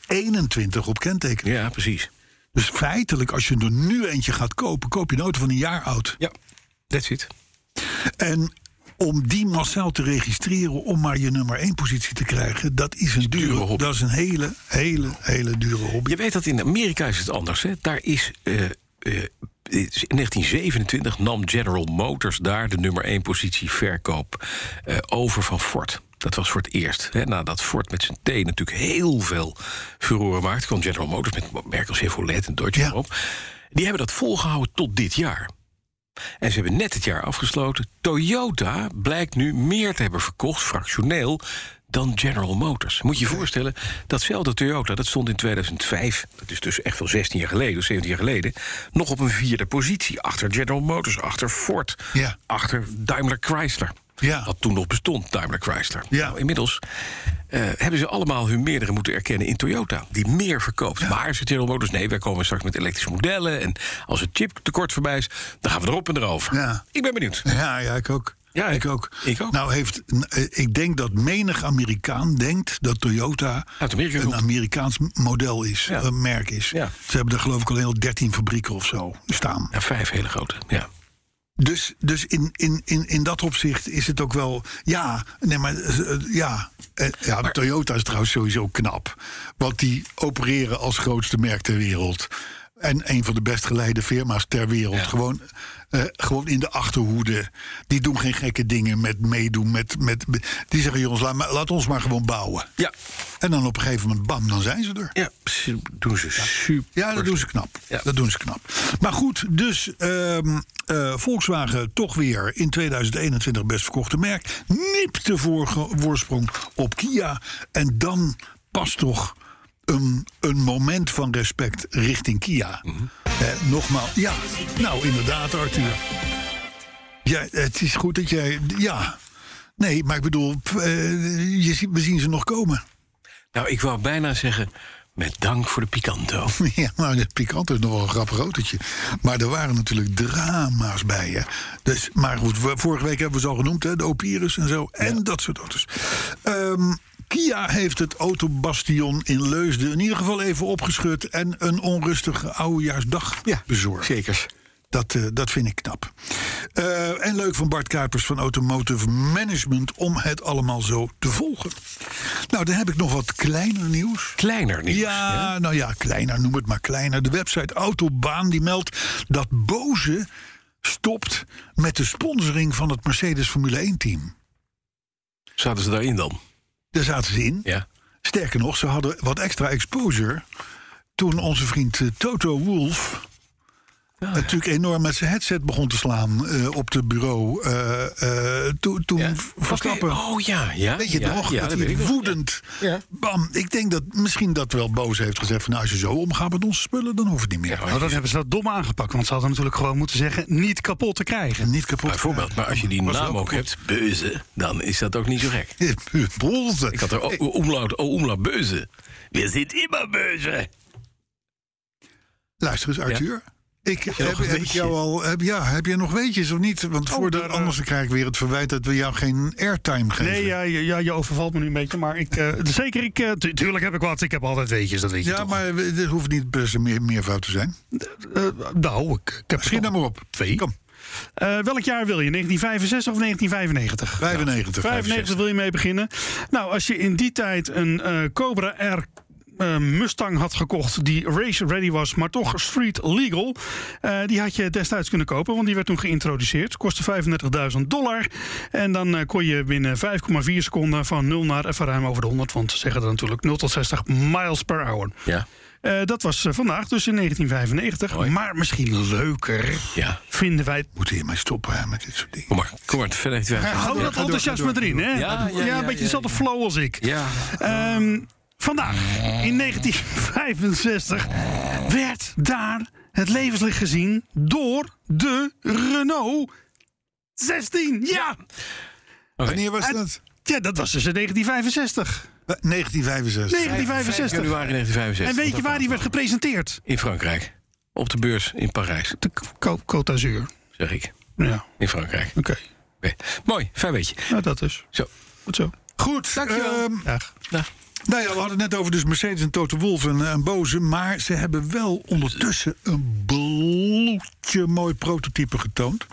2021 op kenteken. Ja, precies. Dus feitelijk, als je er nu eentje gaat kopen, koop je een auto van een jaar oud. Ja, that's it. En om die massaal te registreren, om maar je nummer 1 positie te krijgen, dat is een dure, dure hobby. Dat is een hele, hele, hele dure hobby. Je weet dat in Amerika is het anders. Hè? Daar is. eh, eh, in 1927 nam General Motors daar de nummer 1 positie verkoop eh, over van Ford. Dat was voor het eerst. Hè? Nadat Ford met zijn thee natuurlijk heel veel furoren maakt... kwam General Motors met merken als Chevrolet en Dodge Ja. erop. Die hebben dat volgehouden tot dit jaar. En ze hebben net het jaar afgesloten. Toyota blijkt nu meer te hebben verkocht, fractioneel, dan General Motors. Moet je je voorstellen, datzelfde Toyota, dat stond in 2005... dat is dus echt wel 16 jaar geleden, of 17 jaar geleden... nog op een vierde positie, achter General Motors, achter Ford... Ja. achter Daimler Chrysler. Ja. Wat toen nog bestond, Daimler Chrysler. Ja. Nou, inmiddels eh, hebben ze allemaal hun meerdere moeten erkennen in Toyota... die meer verkoopt. Maar ze General Motors, nee, wij komen straks met elektrische modellen... en als het chiptekort voorbij is, dan gaan we erop en erover. Ja. Ik ben benieuwd. Ja, ja, ik ook. Ja, ik ook. Ik ook. Nou, heeft, n- eh, ik denk dat menig Amerikaan denkt dat Toyota Uit Amerika een komt. Amerikaans model is, Ja. een merk is. Ja. Ze hebben daar geloof ik al heel 13 fabrieken of zo staan. Ja, vijf hele grote. Ja. Dus, dus in, in, in, in dat opzicht is het ook wel. Ja, nee, maar. eh, eh, ja. Eh, ja, Toyota is trouwens sowieso knap. Want die opereren als grootste merk ter wereld. En een van de best geleide firma's ter wereld. Gewoon, eh, gewoon in de achterhoede. Die doen geen gekke dingen met meedoen. Met, met, die zeggen, jongens, laat, maar- laat ons maar gewoon bouwen. Ja. En dan op een gegeven moment, bam, dan zijn ze er. Ja, ze doen ze super. Ja, dat doen ze knap. Ja. Dat doen ze knap. Maar goed, dus ehm, eh, Volkswagen toch weer in 2021 best verkochte merk. Nipt de vorige voorsprong op Kia. En dan past toch een, een moment van respect richting Kia. Eh, nogmaals, ja, nou inderdaad Arthur. Ja, het is goed dat jij, ja... Nee, maar ik bedoel, pff, eh, je ziet, we zien ze nog komen. Nou, ik wou bijna zeggen, met dank voor de picanto. Ja, maar de pikant is nog wel een grappig autootje. Maar er waren natuurlijk drama's bij je. Dus, maar goed, we- vorige week hebben we ze al genoemd, hè, de Opirus en zo. En dat soort auto's. Ehm, Kia heeft het autobastion in Leusden in ieder geval even opgeschud... en een onrustige oudejaarsdag bezorgd. Zekers. Dat, eh, dat vind ik knap. Eh, en leuk van Bart Kuipers van Automotive Management... om het allemaal zo te volgen. Nou, dan heb ik nog wat kleiner nieuws. Kleiner nieuws. Ja, nou ja, kleiner, noem het maar kleiner. De website Autobaan die meldt dat Boze stopt met de sponsoring van het Mercedes Formule 1-team. Zaten ze daarin dan? Daar zaten ze in. Ja. Sterker nog, ze hadden wat extra exposure toen onze vriend eh, Toto Ah, Wolf... Natuurlijk enorm met zijn headset begon te slaan eh, op het bureau. eh, eh, toen toen ja. Verstappen. Oké, Oh ja, ja. Weet je ja, nog? Ja, dat dat hij weet ik nog. woedend. Ja. Bam. Ik denk dat misschien dat wel Boos heeft gezegd: van, nou, als je zo omgaat met onze spullen, dan hoeft het niet meer. Nou, dat hebben ze dat dom aangepakt. Want ze hadden natuurlijk gewoon moeten zeggen... niet kapot te krijgen. Niet kapot. Bijvoorbeeld, maar als je die Was naam wel ook kapot. hebt, Beuze, dan is dat ook niet zo gek. Bolze. Ik had er oh, o- o- omlaut, o- omlaut Beuze. We zitten immer Beuze. Luister eens, Arthur. Ik, heb, nog een heb ik weetje? jou al, heb, ja, heb je nog weetjes of niet? Want voor de, daar, eh, anders krijg ik weer het verwijt dat we jou geen airtime geven. Nee, ja, ja, ja, je overvalt me nu een beetje. Maar ik, eh, zeker, ik, eh, tu- tuurlijk heb ik wat. Ik heb altijd weetjes, dat weet je ja toch. maar we- dit hoeft niet per se meer, meervoud te zijn. Eh, nou, ik, ik heb Schiet er nou toch maar op. twee. Kom, Eh, welk jaar wil je? 1965 of Eh, 1995? 95. 95 wil je mee beginnen. Nou, als je in die tijd een eh, Cobra R eh, Mustang had gekocht die race ready was, maar toch street legal. eh, die had je destijds kunnen kopen, want die werd toen geïntroduceerd. Kostte 35.000 dollar. En dan eh, kon je binnen 5,4 seconden van 0 naar even ruim over de 100. Want ze zeggen dan natuurlijk 0 tot 60 miles per hour. Ja, Eh, dat was eh, vandaag, dus in 1995. Mooi. Maar misschien leuker ja. vinden wij Moet hiermee stoppen hè, met dit soort dingen. Kom maar, kom maar. Verder heeft hij- Hou dat enthousiasme erin, hè? Ja, Ja, ja, ja, een beetje ja, dezelfde flow als ik. Ja. Ehm, vandaag, in 1965, werd daar het levenslicht gezien door de Renault 16. Ja! Wanneer was dat? Ja, dat was dus in 1965. Eh, 1965. 1965. Januari 1965. En weet je waar die werd gepresenteerd? In Frankrijk. Op de beurs in Parijs, De K- Ko- Côte d'Azur. zeg ik. Ja, In Frankrijk. oké. Oké. Mooi, fijn beetje. Nou, dat is. Zo. Goed zo. Goed, ehm, dankjewel. Dag. Nou ja, we hadden het net over dus Mercedes en Toto Wolff en, en Boze. Maar ze hebben wel ondertussen een bloedje mooi prototype getoond.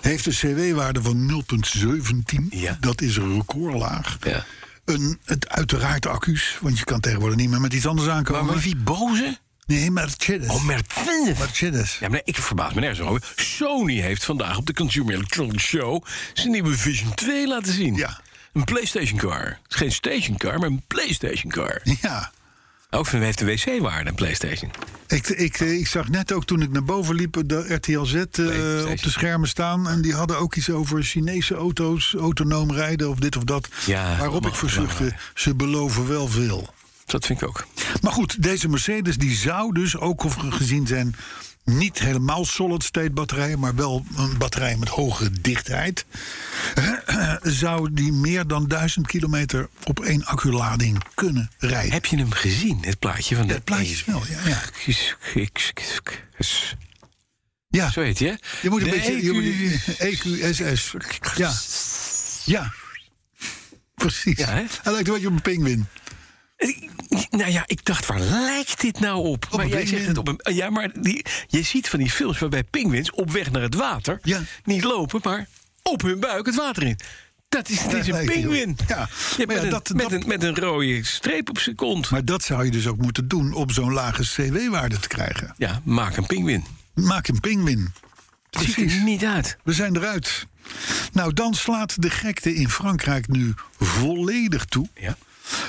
Heeft een CW-waarde van 0,17. Ja. Dat is een recordlaag. Ja. Een, het, uiteraard accu's, want je kan tegenwoordig niet meer met iets anders aankomen. wie boze? Nee, Mercedes. Oh, Mercedes. Mercedes. Ja, maar nee, ik verbaas me nergens over. Sony heeft vandaag op de Consumer Electronics Show zijn nieuwe Vision 2 laten zien. Ja. Een PlayStation car. Het is geen station car, maar een PlayStation car. Ja. Ook van heeft de wc-waarde een PlayStation. Ik, ik, eh, ik zag net ook toen ik naar boven liep de RTL Z eh, PlayStation. op de schermen staan. En die hadden ook iets over Chinese auto's, autonoom rijden of dit of dat. Ja, waarop allemaal ik verzuchtte, ze beloven wel veel. Dat vind ik ook. Maar goed, deze Mercedes die zou dus ook of gezien zijn... niet helemaal solid-state batterijen, maar wel een batterij met hogere dichtheid... zou die meer dan 1000 kilometer op één acculading kunnen rijden. Heb je hem E? gezien, het plaatje van de... Het plaatje is wel, ja. ja. Ik- ik- ik- ik- Ja. Zo heet je. hè? Je moet een De E beetje. je EQ. moet- E EQSS. Ja. Ja. Precies. Ja, hè? Hij lijkt een beetje op een pinguïn. Nou ja, ik dacht, waar lijkt dit nou op? maar een jij zegt pinguïn. het op een. Ja, maar die, je ziet van die films waarbij pinguïns op weg naar het water Ja. niet lopen, maar op hun buik het water in. Dat is, dat is Daar een lijkt hij op. pinguïn. Ja, Ja, maar met, ja, een, dat- met, dat- Een, met een rode streep op zijn kont. Maar dat zou je dus ook moeten doen om zo'n lage CW-waarde te krijgen. ja, maak een pinguïn. Maak een pinguïn. Het ziet er niet uit. We zijn eruit. Nou, dan slaat de gekte in Frankrijk nu volledig toe. Ja.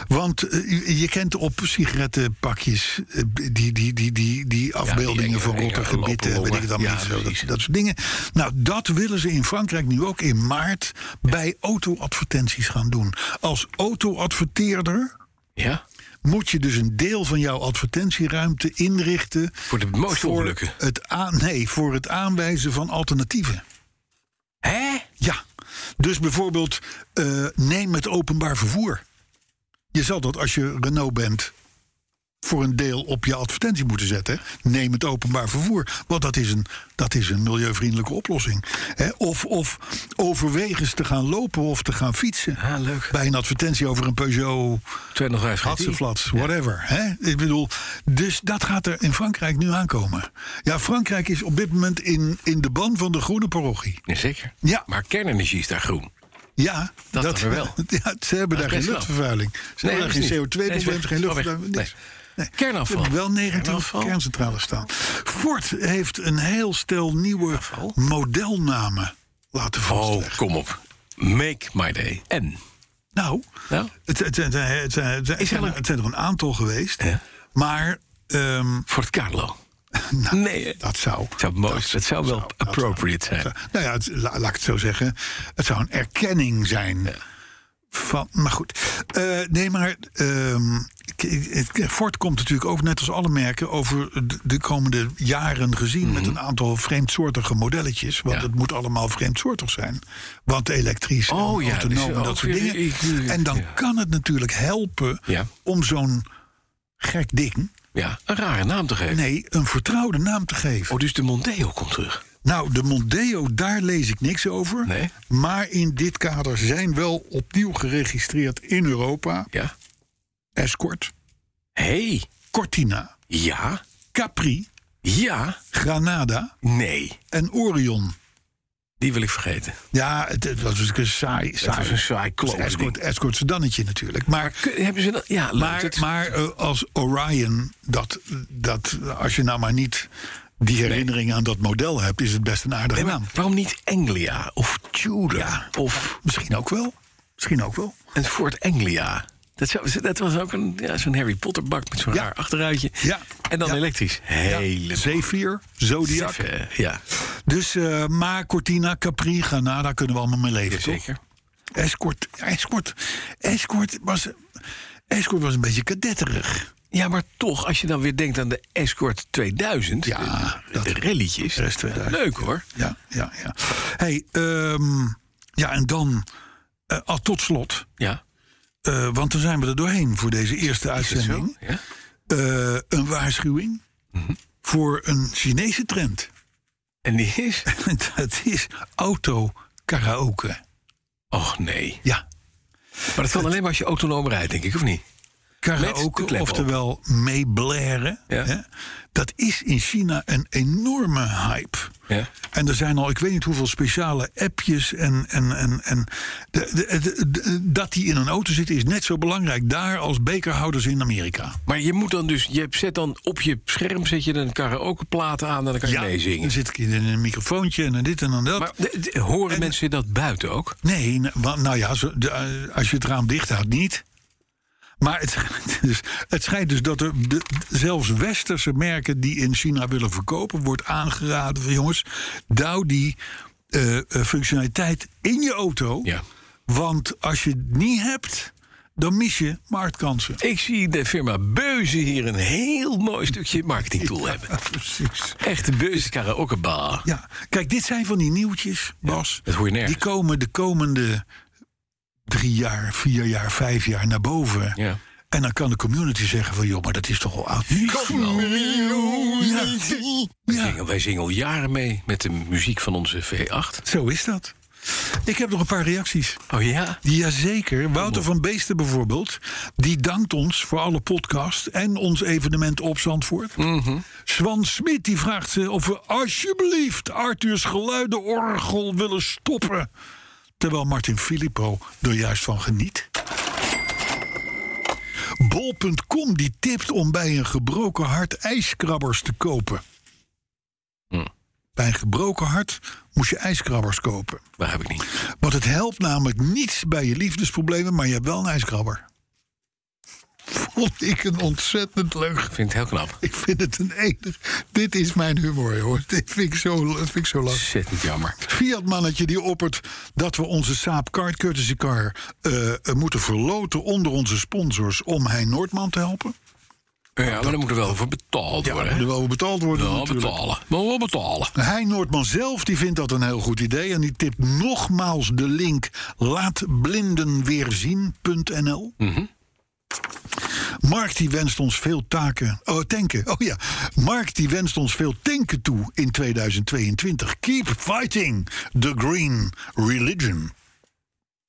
Want eh, je- je kent op sigarettenpakjes eh, die, die, die, die, die afbeeldingen enge- van enge rotte lopen gebitten, weet longen. ik dan Ja, niet, zo, dat, precies. dat soort dingen. Nou, dat willen ze in Frankrijk nu ook in maart bij auto-advertenties gaan doen. Als auto-adverteerder Ja. moet je dus een deel van jouw advertentieruimte inrichten Voor de mooiste voor ongelukken. het, aan, nee, voor het aanwijzen van alternatieven. Hè? Ja, dus bijvoorbeeld eh, neem het openbaar vervoer. Je zal dat als je Renault bent voor een deel op je advertentie moeten zetten. Neem het openbaar vervoer, want dat is een, dat is een milieuvriendelijke oplossing. Hè, of, of overweeg eens te gaan lopen of te gaan fietsen. Ah, leuk. Bij een advertentie over een Peugeot 205 GT. Hatseflats, whatever. Hè? Ik bedoel, dus dat gaat er in Frankrijk nu aankomen. Ja, Frankrijk is op dit moment in, in de ban van de groene parochie. Ja, zeker. Ja. Maar kernenergie is daar groen. Ja, Dat dan weer wel. Ja, ze hebben is best daar geen knap. luchtvervuiling. Ze Nee, hebben dat daar is geen niet. Nee, is CO2-probleem, weg. geen Is wel weg. luchtvervuiling. niks. Nee. We Kernafval. hebben wel 19 Kernafval. kerncentrales staan. Ford heeft een heel stel nieuwe modelnamen laten vastleggen. Oh, kom op. Make my day. En? Nou, Nou? het, het, het, het, het- het zijn, er- het zijn er een aantal geweest. Ja. Maar ehm, Fort Carlo. nou, Nee, eh, hè? dat zou... zou mooi- dat zou wel appropriate zou- zijn. Nou ja, het- la- laat ik het zo zeggen. Het zou een erkenning zijn van... Maar goed. Eh, nee, maar... ehm, k- het- Ford komt natuurlijk ook, net als alle merken... over de- de komende jaren gezien... met een aantal vreemdsoortige modelletjes. Want Mhm. Ja. het moet allemaal vreemdsoortig zijn. Want elektrisch, Oh en ja, autonoom dus en dat ook soort weer- dingen. ik- ik- en dan ja. kan het natuurlijk helpen... Ja. om zo'n gek ding... Ja, een rare naam te geven. nee, een vertrouwde naam te geven. Oh, dus de Mondeo komt terug. Nou, de Mondeo, daar lees ik niks over. Nee. Maar in dit kader zijn wel opnieuw geregistreerd in Europa... Ja. Escort, Hey. Cortina, Ja. Capri, Ja. Granada Nee. en Orion. Die wil ik vergeten. Ja, het, het was natuurlijk een saai... saai. was een saai klote ding. Escort, escort sedannetje natuurlijk. Maar... Kun- Hebben ze dat? Ja, leuk. Maar, Dat- maar eh, als Orion, dat, dat, als je nou maar niet die herinnering aan dat model hebt, is het best een aardige Nee, maar naam. waarom niet Anglia of Tudor? Of Misschien ook wel. Misschien ook wel. een Fort Anglia? Dat, zou, dat was ook een, ja, zo'n Harry Potter bak met zo'n Ja. raar achteruitje. Ja. En dan Ja. elektrisch. Hele Zephyr, Zodiac. Zeven, Ja, Dus, eh, maar Cortina, Capri, Granada kunnen we allemaal mee leven, toch? zeker. Escort, escort, escort was, escort was een beetje kadetterig. Ja, maar toch, als je dan weer denkt aan de Escort eh, 2000. Ja, de, dat- de rallytjes. RS 2000, Leuk hoor. Ja, ja, ja. Hey, ehm, ja, en dan, eh, al tot slot, Ja. eh, want dan zijn we er doorheen voor deze eerste uitzending. Ja. Eh, een waarschuwing voor een Chinese trend. En die is. Dat is auto-karaoke. Och nee. Ja, Maar dat kan alleen maar als je autonoom rijdt, denk ik, of niet? Met de karaoke, klep op. oftewel meeblaren. Ja. hè, Dat is in China een enorme hype. Ja. En er zijn al, ik weet niet hoeveel speciale appjes. En, en, en, en de, de- de- de- dat die in een auto zitten is net zo belangrijk daar als bekerhouders in Amerika. Maar je moet dan dus. Je zet dan op je scherm zet je een karaokeplaat aan en dan kan je dan meezingen. zit ik in een microfoontje en dan dit en dan dat. Maar de- de- horen mensen dat buiten ook? Nee, n- wa- nou ja, zo- de, eh, als je het raam dicht houdt, niet. Maar het, schijnt dus, het schijnt dus dat er de, zelfs westerse merken die in China willen verkopen, wordt aangeraden van jongens, douw die eh, eh, functionaliteit in je auto. Ja. Want als je het niet hebt, dan mis je marktkansen. Ik zie de firma Beuze hier een heel mooi stukje marketingtool hebben. precies. Echte Beuze karaokebar. Ja, kijk, dit zijn van die nieuwtjes, Bas. dat hoor je die nergens. komen de komende drie jaar, vier jaar, vijf jaar naar boven. Ja. En dan kan de community zeggen van... joh, maar dat is toch al oud. Wij, zingen, wij zingen al jaren mee met de muziek van onze V8. Zo is dat. Ik heb nog een paar reacties. Oh ja? Jazeker. Wouter van Beesten bijvoorbeeld. Die dankt ons voor alle podcast en ons evenement op Zandvoort. Swan Smit die vraagt ze of we alsjeblieft Arthurs geluidenorgel willen stoppen. Terwijl Martin Filippo er juist van geniet. Bol.com die tipt om bij een gebroken hart ijskrabbers te kopen. Bij een gebroken hart moest je ijskrabbers kopen. Waar heb ik niet. Want het helpt namelijk niets bij je liefdesproblemen, maar je hebt wel een ijskrabber. Vond ik een ontzettend leuk. Ik vind het heel knap. Ik vind het een enig. Dit is mijn humor, hoor. Dit vind ik zo, dat vind ik zo lastig. Ontzettend jammer. Fiat-mannetje die oppert dat we onze Saab Kart Courtesy Car eh, eh, moeten verloten onder onze sponsors om Hein Noordman te helpen. Ja, maar daar moet er wel voor betaald Ja, worden. moet er hè? wel betaald worden. Ja, natuurlijk. betalen. Maar wel betalen. Hein Noordman zelf die vindt dat een heel goed idee. En die tipt nogmaals de link laatblindenweerzien.nl. Mhm. Mark die wenst ons veel taken. Oh, tanken. Oh ja. Mark die wenst ons veel tanken toe in 2022. Keep fighting the green religion.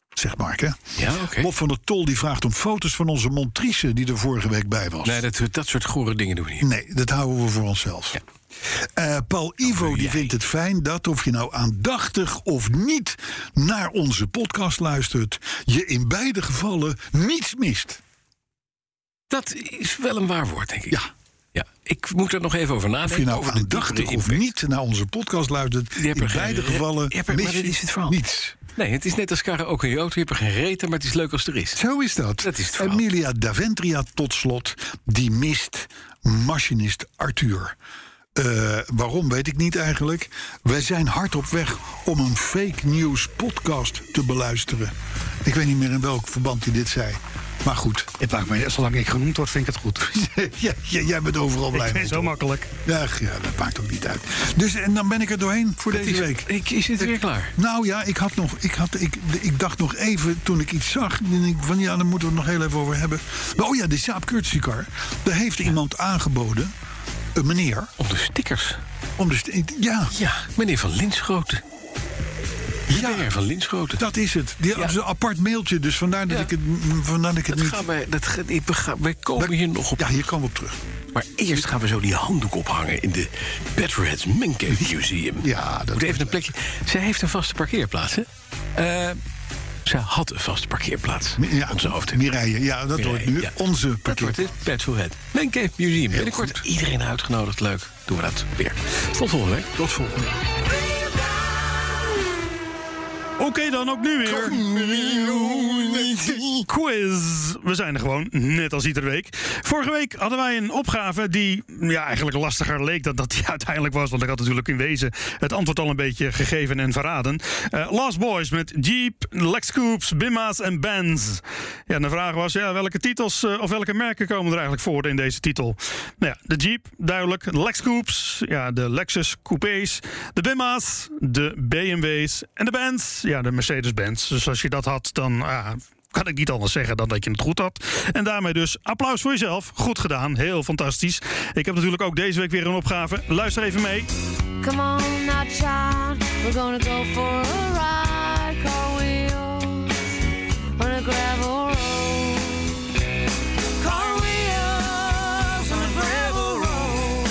Zegt Mark, hè? Ja, oké. Bob van der Tol die vraagt om foto's van onze Montrice die er vorige week bij was. Nee, dat, dat soort gore dingen doen we niet. Nee, dat houden we voor onszelf. Eh, Paul Ivo die vindt het fijn dat of je nou aandachtig of niet naar onze podcast luistert, je in beide gevallen niets mist. Dat is wel een waar woord, denk ik. Ja. ja. Ik moet er nog even over nadenken. Of je nou over de aandachtig diepere of impact. niet naar onze podcast luistert, Je hebt in er geen beide re- gevallen je hebt er- mis maar je dat is het verhaal. niets. Nee, het is net als karaoke in je auto. Je hebt er geen reet aan, maar het is leuk als het er is. Zo is dat. Dat is het verhaal. Emilia Daventria tot slot, die mist machinist Arthur. Eh, waarom weet ik niet eigenlijk. Wij zijn hard op weg om een fake news podcast te beluisteren. Ik weet niet meer in welk verband hij dit zei. Maar goed, Het maakt mij, zolang ik genoemd word, vind ik het goed. ja, ja, jij bent overal blij Ik ben mee. zo makkelijk. Ach, ja, dat maakt ook niet uit. Dus en dan ben ik er doorheen voor Het deze is, week. ik, is het weer klaar? Nou ja, ik, had nog, ik, had, ik, ik dacht nog even toen ik iets zag. en ik van ja, daar moeten we het nog heel even over hebben. Maar, oh ja, de Saab Courtesy Car. Daar heeft iemand aangeboden, een meneer. Om de stickers. Om de, st- ja, Ja, meneer Van Linschoten. Ja, meneer Van Linschoten. dat is het. Die dat is een apart mailtje, dus vandaar dat Ja. ik het, m, vandaar dat ik het Dat niet. gaan wij, dat, ga- ik- we gaan- wij komen hier nog op. Ja, hier komen we op terug. Maar eerst gaan we zo die handdoek ophangen in de Petroheads Menke Museum. Ja, dat Moet wordt even een plekje. Zij heeft een vaste parkeerplaats, hè? Eh, zij had een vaste parkeerplaats. Ja, Onze hoofd. Mireille, ja, dat wordt nu Ja. onze Dat parkeer. wordt het Petrohead Menke Museum. Binnenkort goed. iedereen uitgenodigd. Leuk. Doen we dat weer. Tot volgende week. Tot volgende. Oké, dan ook nu weer. Quiz. We zijn er gewoon, net als iedere week. Vorige week hadden wij een opgave die ja, eigenlijk lastiger leek dan dat die uiteindelijk was. Want ik had natuurlijk in wezen het antwoord al een beetje gegeven en verraden. Eh, Last Boys met Jeep, Lex Coupes, Bimma's en Bands. Ja, en de vraag was ja, welke titels eh, of welke merken komen er eigenlijk voor in deze titel? Nou ja, de Jeep, duidelijk. De Lex Coupes, ja, de Lexus Coupés. De Bimma's, de BMW's en de Benz. Ja, de Mercedes-Benz. Dus als je dat had, dan ah, kan ik niet anders zeggen dan dat je het goed had. En daarmee dus applaus voor jezelf. Goed gedaan, heel fantastisch. Ik heb natuurlijk ook deze week weer een opgave. Luister even mee. Come on now, child. We're gonna go for a ride. Car wheels on a gravel road. Car wheels on a gravel road.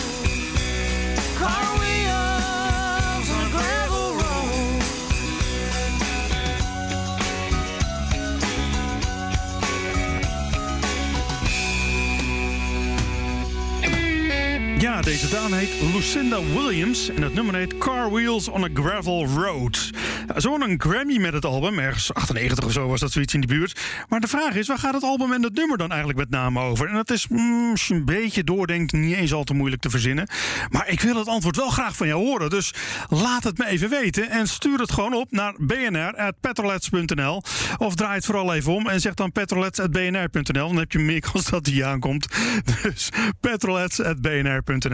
Car wheels on a gravel road. Ja, deze dame heet Lucinda Williams en het nummer heet Car Wheels on a Gravel Road. Ja, Ze won een Grammy met het album, ergens 98 of zo was dat zoiets in de buurt. Maar de vraag is, waar gaat het album en het nummer dan eigenlijk met name over? En dat is, mm, als je een beetje doordenkt, niet eens al te moeilijk te verzinnen. Maar ik wil het antwoord wel graag van jou horen, dus laat het me even weten en stuur het gewoon op naar bnr.petrolets.nl of draai het vooral even om en zeg dan petrolets.bnr.nl. Dan heb je meer kans dat die aankomt. Dus petrolets.bnr.nl.